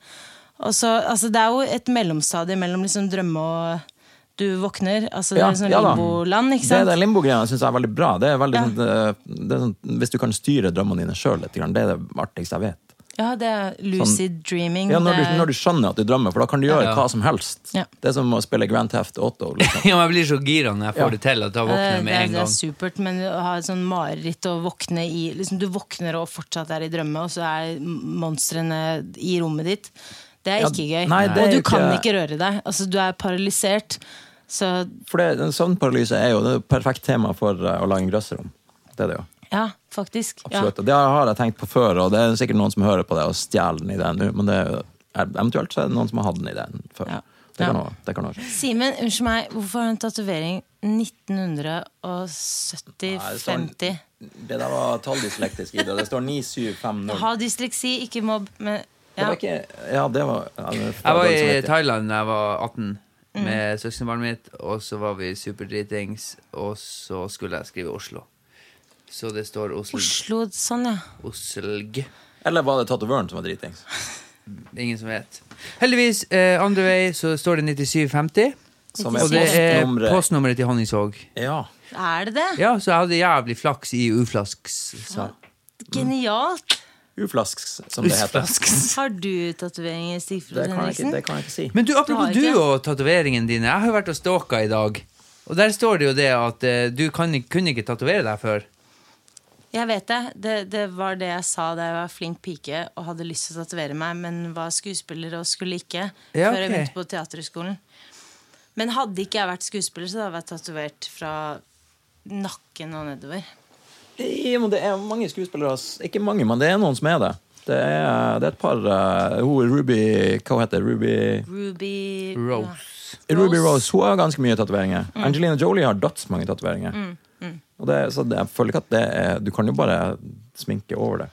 Og så, altså, det er jo et mellomstadie mellom liksom drømme og du våkner. Altså, det
Ja,
er sånn
ja da.
limboland, ikke
Det
sant?
er den limbo-greia syns jeg er veldig bra. Det er veldig,
Ja.
sånn, eh, det er sånn, hvis du kan styre drømmene dine sjøl litt, grann, det er det artigste jeg vet.
Ja, det er lucid dreaming.
Sånn- Ja, når,
det
du,
er-
når du skjønner at du drømmer, for da kan du gjøre
Ja.
hva som helst.
Ja.
Det er som å spille Grand Theft Auto. Liksom.
Ja, men jeg blir så gira når jeg får
Ja.
det til at da
Ja,
våkner jeg
Eh, det,
med
det,
en
det er
gang.
supert, men å ha et sånn mareritt og våkne i liksom, Du våkner og fortsatt er i drømme, og så er monstrene i rommet ditt. Det er
Ja,
ikke gøy.
nei, det er
og du
jo
kan
ikke-
ikke røre deg. Altså, du er paralysert. Så
For det, den Søvnparalyse er jo det er jo et perfekt tema for eh, å lage en grøsser om. Det er det jo.
ja, faktisk. Ja.
Absolutt. Og Det har jeg tenkt på før, og det er sikkert noen som hører på det og stjeler den ideen nå, men det er, jo- eventuelt så er det noen som har hatt den ideen før.
Ja.
Det kan
Ja.
også- det kan også skje.
Simen, unnskyld meg, hvorfor har du en tatovering 1970
Nei, det står-
50
Det der var talldysleksisk i det. Det står 9750.
Ha dysleksi, ikke mobb. Men,
Det
ja.
var ikke Ja, det var ja, det
Jeg var
dårlig
i
samvittighet.
Thailand da jeg var 18
Mm.
med søskenbarnet mitt, og så var vi superdritings, og så skulle jeg skrive Oslo. Så det står Osl-
Oslo, sånn, ja.
Oslg.
Eller var det tatovøren som var dritings?
Ingen som vet. Heldigvis, eh, andre vei så står det 9750,
Som
og det er
postnummeret.
postnummeret til Honningsvåg.
Ja.
Er det det?
Ja, så jeg hadde jævlig flaks i uflasks. Så.
Genialt!
Uflasks, som det heter.
Har du tatoveringer, Stigfrid
Det kan, jeg ikke,
Henriksen?
det kan jeg ikke si.
Men du, apropos
har
du
ikke.
og tatoveringene dine. Jeg har jo vært og stalka i dag. Og der står det jo det at eh, du kan, ikke- kunne ikke tatovere deg før.
Jeg vet det. det. Det var det jeg sa da jeg var flink pike og hadde lyst til å tatovere meg, men var skuespiller og skulle ikke.
Ja,
Før jeg
ok.
begynte på Teaterhøgskolen. Men hadde ikke jeg vært skuespiller, så hadde jeg vært tatovert fra nakken og nedover.
Ja, men det er mange skuespillere ass. Ikke mange, men det er noen som er det. Det er, det er et par eh, Hun Ruby Hva heter hun? Ruby
Ruby
Rose.
Ruby Rose hun har ganske mye tatoveringer.
Mm.
Angelina Jolie har dødsmange tatoveringer. Og det- Så det, jeg føler ikke at det er Du kan jo bare sminke over det.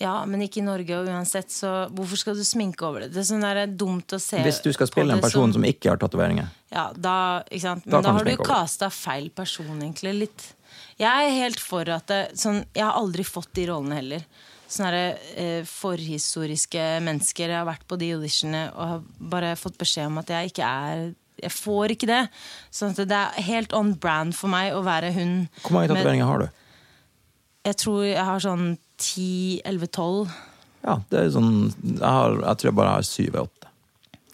Ja, men ikke i Norge og uansett, så hvorfor skal du sminke over det? Det er sånn der dumt å se
Hvis du skal
på
spille en
det sånn-
person som ikke har tatoveringer.
Ja, da, ikke sant?
Da kan
Men da,
du
har du
tenke over det.
kasta feil person, egentlig. litt Jeg er helt for at det, sånn, Jeg har aldri fått de rollene heller. Sånne her, eh, forhistoriske mennesker. Jeg har vært på de auditionene og har bare fått beskjed om at jeg ikke er Jeg får ikke det. Sånn at det er helt on brand for meg å være hun.
Hvor mange
med-
tatoveringer har du?
Jeg tror jeg har sånn 10-11-12.
Ja, det er sånn Jeg, har, jeg tror jeg bare har syv-åtte.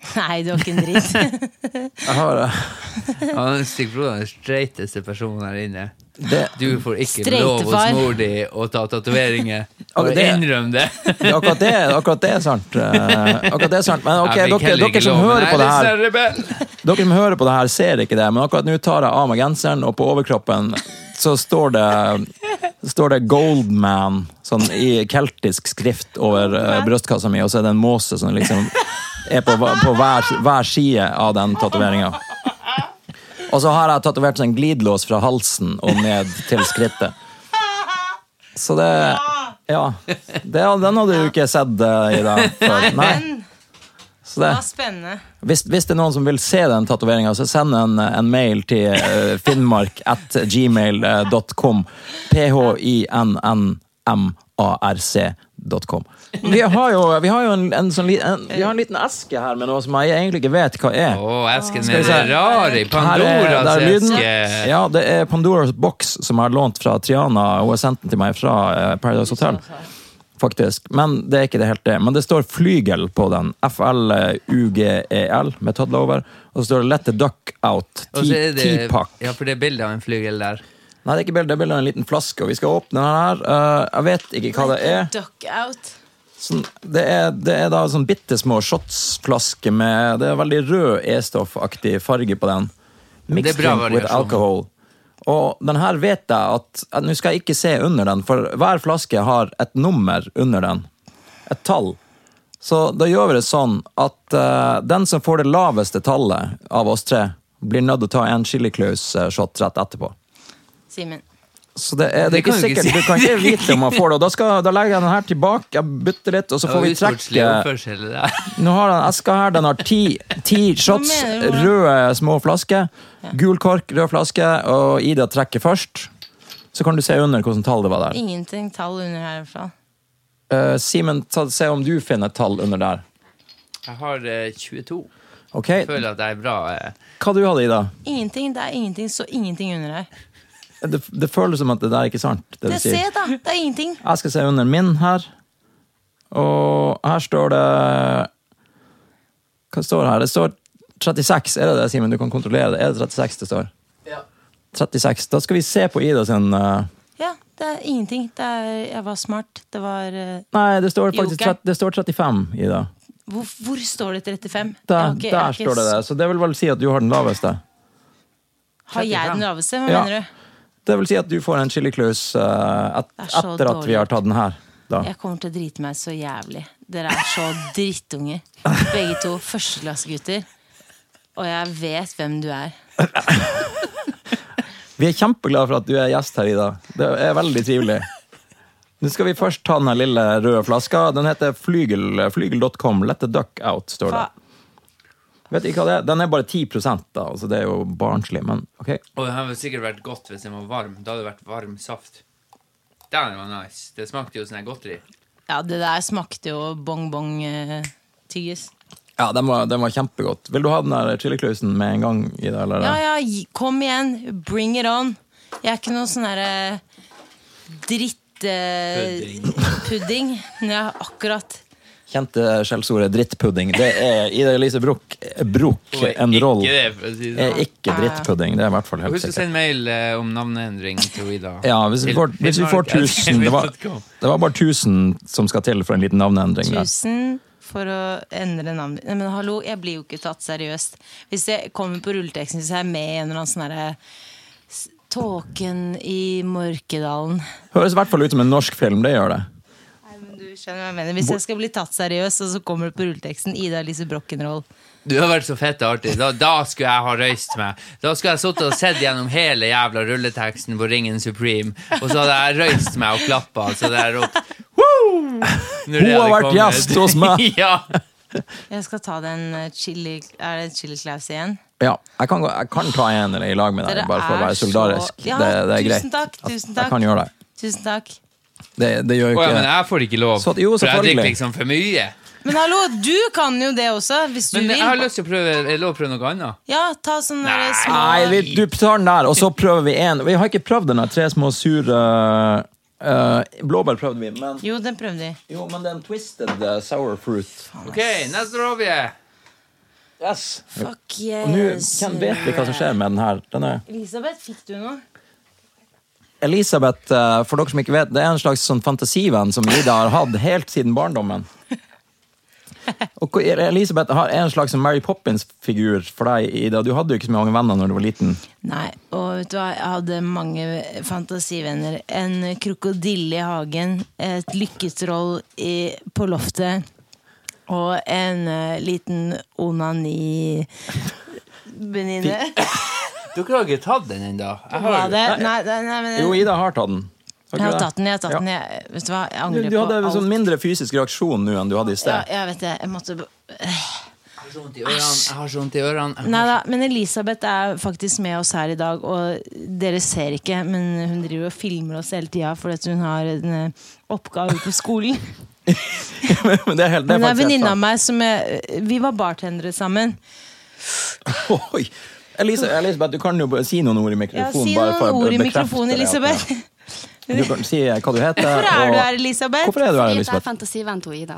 Nei, du har ikke en dritt.
Jeg har eh,
Ja, Stig Frode er den streiteste personen her inne.
det,
Du får ikke
Streite
lov hos
far.
mor di å ta tatoveringer. Og
det-
innrøm det!
akkurat, det, akkurat det er sant. eh, Akkurat det er sant. Men ok,
Jeg fikk
dere,
heller
dere
ikke
som
lov, men
hører på det
jeg
her
er litt sånn rebell.
Dere som hører på det her, ser ikke det, men akkurat nå tar jeg av meg genseren, og på overkroppen så står det Står det 'Goldman' sånn i keltisk skrift over eh, brystkassa mi, og så er det en måse som liksom er på, hva- på hver, hver side av den tatoveringa. Og så har jeg tatovert sånn glidelås fra halsen og ned til skrittet. Så det Ja. Det, den hadde du ikke sett eh, i dag før. Nei.
Men
Så det,
det var spennende.
hvis, hvis det er noen som vil se den tatoveringa, så send en, en mail til eh, finnmark at eh, gmail.com. P-h-i-n-n-m-a-r-c.com. Vi har jo, vi har jo en, en, sånn, li- en, vi har en liten eske her med noe som jeg egentlig ikke vet hva er.
Å, esken
vi
med
se.
det rare i
Her er-
Pandoras
der er lyden.
eske.
Ja, det er Pandoras boks som jeg har lånt fra Triana. Hun har sendt den til meg fra eh, Paradise Hotel. Faktisk. Men det er ikke det helt det. Men det står flygel på den. F-L-U-G-E-L E med toddler over. Og så står det 'Let the duck out'.
Og så er det
Ti-pakk.
Ja, for det er bilde av en flygel der.
Nei, det er ikke bilde, det er bilde av en liten flaske, og vi skal åpne den her. Eh, jeg vet ikke hva det er.
Duck out.
Sånn, det, er det er da sånn bitte små shotsflasker med Det er veldig rød E-stoffaktig farge på den.
Det
Mixed
er bra
drink with
variasjon.
alcohol. Og den her vet jeg at, at Nå skal jeg ikke se under den, for hver flaske har et nummer under den. Et tall. Så da gjør vi det sånn at eh, den som får det laveste tallet av oss tre, blir nødt til å ta en Chili Claus-shot rett etterpå.
Simen.
Så det er, det er
Det
ikke
kan du ikke
sikkert.
si.
Du kan ikke vite om man får det. Og da, skal, da legger jeg den her tilbake, jeg bytter litt, og så
Det
får
var
vi
usportslig
trekke
oppførsel. det der.
Nå har den eska her, den har ti, ti shots,
mener du?
røde små flasker. Gul kork, rød flaske, og Ida trekker først. Så kan du se under hvilket tall det var der.
Ingenting tall under her, i hvert fall.
Eh, Simen, ta- se om du finner et tall under der.
Jeg har eh, 22.
Ok,
Føler at jeg er bra. eh.
Hva du hadde, Ida?
Ingenting, det er ingenting, så ingenting under her.
Det, det føles som at det der er ikke sant. Det du
Det, se,
sier.
da! Det er ingenting.
Jeg skal se under min her. Og her står det Hva står det her? Det står 36, er det det, Simen? Du kan kontrollere det. Er det 36 det står? 36. Da skal vi se på Ida sin eh,
Ja, det er ingenting. Det er, jeg var smart. Det var eh,
Nei, det står faktisk
Joker.
30, det står 35, Ida.
Hvor, hvor står det 35? Jeg
Der,
har ikke- jeg
der
har ikke
står det
s-
det. Så det vil vel si at du har den laveste.
Har jeg den laveste? Hva
Ja.
mener du?
Det vil si at du får en chiliklaus eh, et,
Det er så
etter at vi har tatt den her. Da.
Jeg kommer til å drite meg så jævlig. Dere er så drittunger. Begge to førsteklassegutter. Og jeg vet hvem du er.
Vi er kjempeglade for at du er gjest her, Ida. Det er veldig trivelig. Nå skal vi først ta den her lille røde flaska. Den heter Flygel. Flygel.com. Let the duck out, står det.
Hva?
Vet ikke hva det er? Den er bare 10 da, så det er jo barnslig, men ok.
Og det hadde sikkert vært godt hvis den var varm. Da hadde det vært varm saft. Den var nice. Det smakte jo sånn her godteri.
Ja, det der smakte jo eh, bongbong-tyggis.
Ja, den var, den var kjempegodt. Vil du ha den der chiliklausen med en gang, Ida? Eller?
Ja, ja, gi- kom igjen. Bring it on. Jeg er ikke noe sånn derre drittpudding. pudding. Ja, akkurat.
Kjente skjellsordet drittpudding. Det er Ida Elise Bruch. Bruch,
Og
en roll.
Ikke det, for å si det
Er
sånn.
ikke drittpudding, det er i hvert fall helt
Husk å
sikkert.
sende mail eh, om navneendring til Ida.
Ja, hvis vi
Til
får, hvis vi
Finnmark at
får 1000 det var,
gmail.com.
det var bare 1000 som skal til for en liten navneendring. Der.
Tusen for å endre navnet ditt. Nei, Men hallo, jeg blir jo ikke tatt seriøst. Hvis jeg kommer på rulleteksten, så er jeg med i en eller annen sånn herre s- Tåken i Mørkedalen.
Høres i hvert fall ut som en norsk film, det gjør det.
Nei, men du skjønner hva jeg mener. Hvis jeg skal bli tatt seriøst, og så kommer det på rulleteksten Ida Elise Brockenroll.
Du har vært så fett artig. Da, da skulle jeg ha røyst meg. Da skulle jeg sittet og sett gjennom hele jævla rulleteksten på Ringen Supreme, og så hadde jeg røyst meg og klappa. Så det er ropt «Woo!» Når
Hun
det
har
hadde
vært
kommet.
gjest hos meg.
ja.
Jeg skal ta den eh, chili Er det chili claus igjen?
Ja, jeg kan, gå- jeg kan ta en eller i lag med deg,
Dere
bare for å
er
være solidarisk.
så- Ja,
det, det er
tusen
greit.
takk,
at
tusen takk.
Jeg kan gjøre det.
Tusen takk.
Det, det gjør jo
Å ja,
ikke
men jeg får ikke lov.
Så- jo,
for jeg drikker
selvfølgelig.
liksom for mye.
Men hallo, du kan jo det også, hvis du
Men jeg har
vil.
lyst til å prøve, er det lov å prøve noe annet.
Ja, ta sånne
Nei.
små
Nei, vi, du tar den der, og så prøver vi en. Vi har ikke prøvd den der tre små sure eh, Blåbær prøvde vi, men
Jo, den prøvde vi.
Jo, men det er en twisted eh, sour fruit.
Ok, neste rovje.
Yes.
Fuck
Og nå
yes.
kjenn- vet vi hva som skjer med den her. Den er
Elisabeth, fikk du noe?
Elisabeth, eh, for dere som ikke vet, det er en slags sånn fantasivenn som Ida har hatt helt siden barndommen. Og hvor- Elisabeth har en slags sånn Mary Poppins-figur for deg, Ida. Du hadde jo ikke så mange venner når du var liten.
Nei, og vet du hva, jeg hadde mange fantasivenner. En krokodille i hagen, et lykketroll i, på loftet og en eh, liten onani-venninne.
Dere har ikke tatt den ennå.
Var det? Nei, nei, nei, men
Jo, Ida har tatt den.
Eh. jeg har
ikke det?
tatt den, jeg har tatt
Ja.
den. Jeg, vet du hva, jeg
Du,
angrer
du
på
hadde en
alt.
sånn mindre fysisk reaksjon nå enn du hadde i
Ja,
sted.
jeg vet det. Jeg måtte b-
Jeg har så vondt i ørene. Jeg har så vondt i ørene.
Nei da, men Elisabeth er faktisk med oss her i dag, og dere ser ikke, men hun driver og filmer oss hele tida fordi hun har en eh, oppgave på skolen.
Men det er, helt, det er
Hun er
faktisk helt
venninne av
sant.
meg som jeg, Vi var bartendere sammen.
Oi. Elisa, Elisabeth, du kan jo bare si noen ord i
Ja,
mikrofonen.
si
bare for
noen
å
ord i
bekrefte
mikrofonen,
det at-
Elisabeth.
Du kan si hva du heter.
Hvorfor er du
og-
her, Elisabeth?
Hvorfor er du her,
Fordi at jeg er
Elisabeth?
fantasivenn til Ida.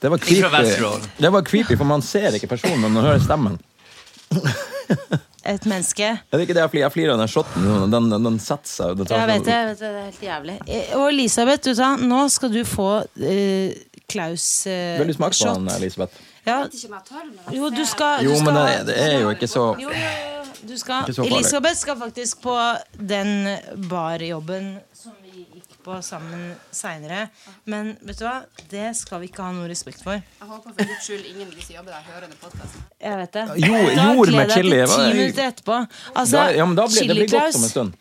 Det var
Ikke fra
creepy,
Vesterålen.
det var creepy for man ser ikke personen, men man hører stemmen.
Et menneske.
Er det ikke det jeg flirer jeg flirer av den shotten? Den, den, den setter seg. og det tar
Jeg
sånn-
vet det. jeg Vet det, det er helt jævlig. Eh, Og Elisabeth, vet du, hva, nå skal du få eh, Klaus eh,
Vil du smake på
shot.
den, Elisabeth?
Ja.
Jeg vet ikke om jeg tør, men
Jo, du skal,
Jo,
du skal
men det, det er jo ikke så
Jo, jo, jo, du skal.
Ikke så farlig.
Elisabeth skal faktisk på den barjobben som vi gikk på sammen seinere. Men vet du hva, det skal vi ikke ha noe respekt for.
jeg håper for guds skyld ingen av de som jobber der, hører den podkasten.
Jeg vet det.
Jo,
Da
jord med
gleder jeg
chili,
til ti
hva-
minutter etterpå. Altså,
da, ja, men da blir, Det blir godt
Chili-Klaus,
om en stund.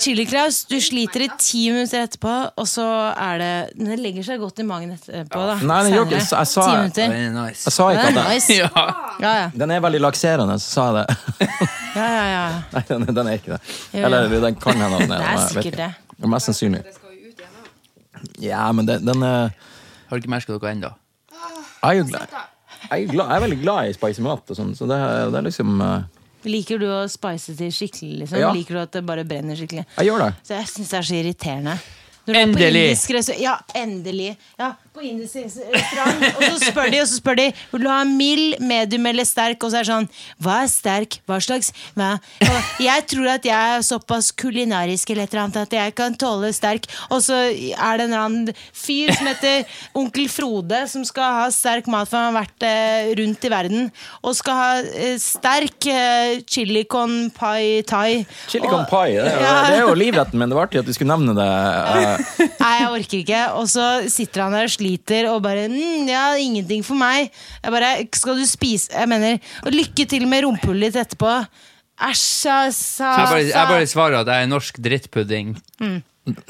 Chili-Klaus, du sliter i ti minutter etterpå, og så er det Men det legger seg godt i magen etterpå, da.
Nei, den gjør ikke-
Senere.
jeg sa-
Ti
Den
minutter.
er nice.
Jeg sa ikke
Det
at
er
den,
nice.
Ja.
Ja, ja.
den er veldig lakserende, så sa jeg det.
ja, ja, ja.
Nei, den, den er ikke det.
Jo, jo.
Eller den kan hende at den
Det
den
er
jeg vet
sikkert
ikke.
det.
Ja, Mest sannsynlig.
Det skal jo ut igjen òg.
Ja, men den, den er
Har dere merka dere ennå?
jeg er jo glad. Jeg er, glad, jeg er veldig glad i spicy mat og sånn, så det, er- det er liksom eh,
Liker du å spice til skikkelig? Liksom?
Ja.
Liker du at det bare brenner skikkelig?
Jeg gjør det.
Så jeg syns det er så irriterende. Når du er på
Endelig!
indisk restaurant- Ja, endelig. Ja, på indisk restaurant. Og så spør de, og så spør de Vil du ha mild, medium eller sterk? Og så er det sånn Hva er sterk? Hva slags? Hva? Og jeg tror at jeg er såpass kulinarisk eller et eller annet at jeg kan tåle sterk. Og så er det en eller annen fyr som heter onkel Frode, som skal ha sterk mat, for han har vært eh, rundt i verden. Og skal ha eh, sterk eh, chili con pai thai.
Chili con
Og-
pie. Det er, jo,
Ja.
det er jo livretten min. Det var artig at du skulle nevne det. eh,
Nei, jeg orker ikke. Og så sitter han der og sliter og bare mm, Ja, ingenting for meg. Jeg bare Skal du spise Jeg mener Og lykke til med rumpehullet ditt etterpå. Æsj, altså. sa
Jeg bare, jeg bare svarer at jeg er norsk drittpudding.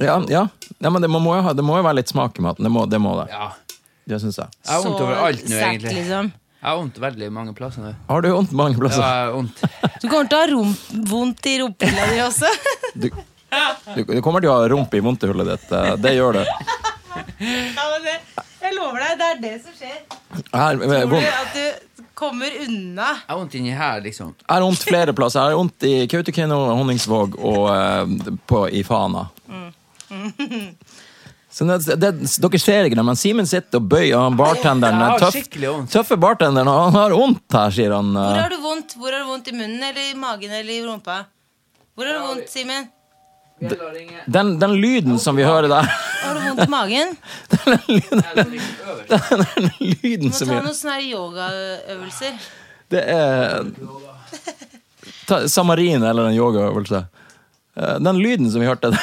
Ja, ja. ja men det, man må jo ha, det må jo være litt smak i maten. Det må det. Må det.
Ja.
det synes jeg.
Jeg har vondt overalt nå, egentlig.
Liksom.
Jeg har vondt veldig mange plasser nå.
Har du vondt mange
Ja, jeg
plasser?
har vondt.
Du kommer til å ha rump, vondt i rumpehullet di også.
Du, du, du kommer til å ha rump i vondtehullet ditt. eh, Det gjør du.
ja, men det, jeg lover deg, det er det som skjer.
Her, eh,
Tror
vondt.
du at du kommer unna?
Jeg har vondt inni her, liksom.
Jeg har vondt flere plasser. Jeg har vondt i Kautokeino, Honningsvåg og eh, på, i Fana.
Mm.
Så det, det, dere ser ikke det, men Simen sitter og bøyer og han bartenderen.
Jeg har
Tøff,
skikkelig vondt.
tøffe bartenderen, og han har vondt her, sier han. eh.
Hvor har du vondt? Hvor har du vondt I munnen eller i magen eller i rumpa? Hvor har du vondt, Simen?
Den, den lyden som vi hører der
Har du vondt i magen?
Den lyden, den lyden
Du må
som vi
ta noen sånne her yogaøvelser.
Det er ta, Samarin eller en yogaøvelse. Eh, Den lyden som vi hørte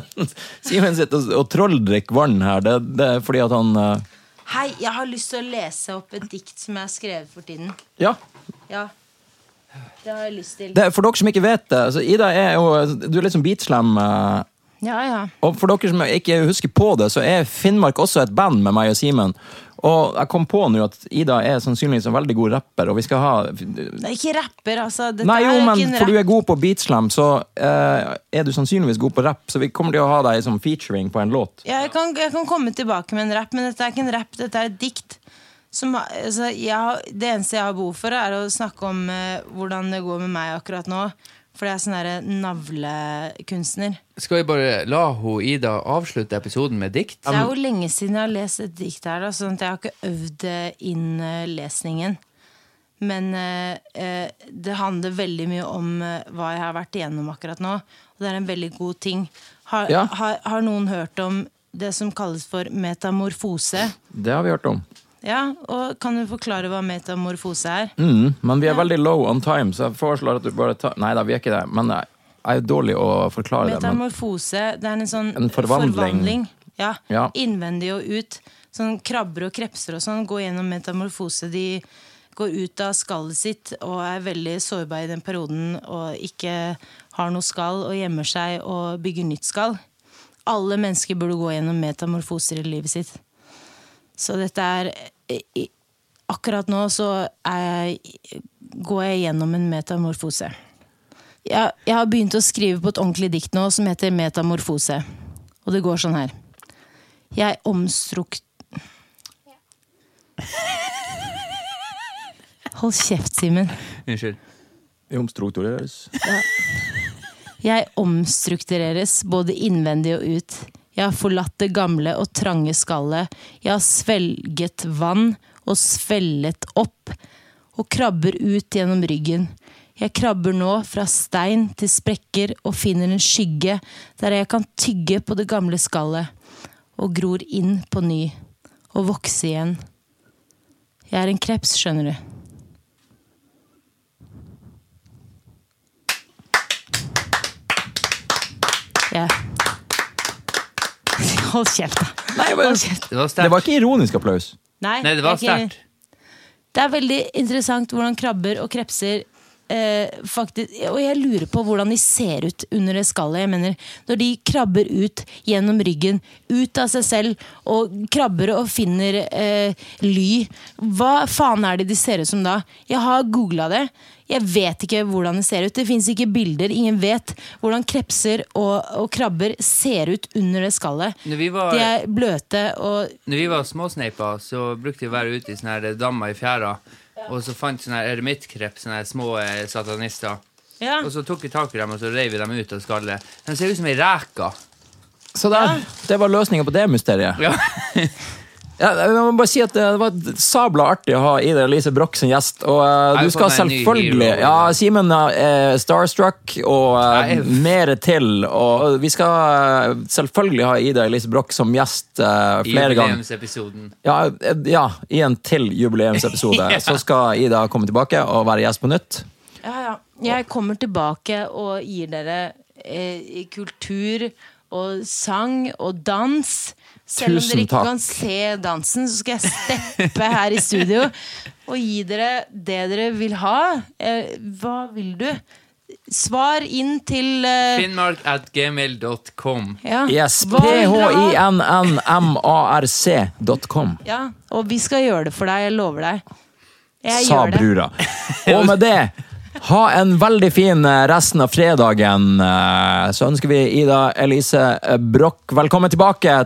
Simen sitter og- og trolldrikker vann her. Det, det er fordi at han eh,
Hei, jeg har lyst til å lese opp et dikt som jeg har skrevet for tiden.
Ja,
Ja, det har jeg lyst til.
det, er for dere som ikke vet det så Ida er jo Du er liksom beatslam. eh,
Ja, ja.
Og for dere som ikke husker på det, så er Finnmark også et band med meg og Simen. Og jeg kom på nå at Ida er sannsynligvis en veldig god rapper, og vi skal ha
Det er ikke rapper, altså. Dette
Nei, jo,
er ikke
men
en
for du
rapp.
er god på beatslam, så eh, er du sannsynligvis god på rapp, så vi kommer til å ha deg som featuring på en låt.
Ja, jeg, kan, jeg kan komme tilbake med en rapp, men dette er ikke en rapp, dette er et dikt. Som, har- altså, jeg, har- det eneste jeg har behov for, er å snakke om eh, hvordan det går med meg akkurat nå. For jeg er sånn derre navlekunstner.
Skal vi bare la hun Ida avslutte episoden med dikt?
Det er jo lenge siden jeg har lest et dikt her, da, sånn at jeg har ikke øvd eh, inn eh, lesningen. Men eh, eh, det handler veldig mye om eh, hva jeg har vært igjennom akkurat nå. Og det er en veldig god ting. Har,
Ja.
har, har noen hørt om det som kalles for metamorfose?
Det har vi hørt om.
Ja, og Kan du forklare hva metamorfose er?
Mm, men vi er veldig low on time, så jeg foreslår at du bare tar Nei da, vi er ikke det, men jeg jeg er dårlig å forklare det. Men
Metamorfose, det er en sånn
En forvandling.
Ja,
Ja.
Innvendig og ut. Sånn krabber og krepser og sånn går gjennom metamorfose. De går ut av skallet sitt og er veldig sårbare i den perioden og ikke har noe skall og gjemmer seg og bygger nytt skall. Alle mennesker burde gå gjennom metamorfoser i livet sitt. Så dette er i- i- Akkurat nå så er jeg, går jeg gjennom en metamorfose. Jeg, jeg har begynt å skrive på et ordentlig dikt nå som heter Metamorfose. Og det går sånn her. Jeg omstruk... Hold kjeft, Simen.
Unnskyld.
Vi omstruktureres.
Jeg omstruktureres både innvendig og ut. Jeg har forlatt det gamle og trange skallet. Jeg har svelget vann og svellet opp og krabber ut gjennom ryggen. Jeg krabber nå fra stein til sprekker og finner en skygge der jeg kan tygge på det gamle skallet og gror inn på ny og vokse igjen. Jeg er en kreps, skjønner du. Jeg Hold kjeft, da.
Nei, men,
Hold kjeft.
Det var
det var
sterkt.
ikke ironisk applaus.
Nei, det var
jeg er ikke-
sterkt.
Det er veldig interessant hvordan krabber og krepser eh, faktisk, Og jeg lurer på hvordan de ser ut under det skallet. Jeg mener, når de krabber ut gjennom ryggen, ut av seg selv, og krabber og finner eh, ly Hva faen er det de ser ut som da? Jeg har googla det. Jeg vet ikke hvordan det ser ut. Det fins ikke bilder. Ingen vet hvordan krepser og, og krabber ser ut under det skallet.
Når vi var-
De er bløte og
Når vi var småsneiper, så brukte vi å være ute i sånne her dammer i fjæra. Og så fant sånne her eremittkreps, sånne her små eh, satanister.
Ja.
Og så tok vi tak i dem og så reiv vi dem ut av skallet. De ser ut som ei reke.
Så der, det var løsninga på det mysteriet.
Ja.
Ja, jeg må bare si at Det det var sabla artig å ha Ida Elise Broch som gjest. Og eh,
Jeg
du
har
skal
fått meg en ny
selvfølgelig
hero.
Ja, Simen er starstruck og eh,
Nei.
mer til. Og vi skal eh, selvfølgelig ha Ida Elise Broch som gjest eh,
I
flere ganger.
jubileumsepisoden.
Ja, eh, ja, i en til jubileumsepisode. Så skal Ida komme tilbake og være gjest på nytt.
Ja, ja. Jeg kommer tilbake og gir dere eh, kultur og sang og dans. Selv om
Tusen
dere ikke
takk.
kan se dansen, så skal jeg steppe her i studio og gi dere det dere vil ha. Eh, hva vil du? Svar inn til eh,
Finnmark at gmail.com.
ja.
Yes,
Hva vil dere ha?
phinnmarc.com.
Ja, og vi skal gjøre det for deg. Jeg lover deg. Jeg
sa
gjør det.
brura. Og med det, ha en veldig fin eh, resten av fredagen. Eh, Så ønsker vi Ida Elise Broch velkommen tilbake.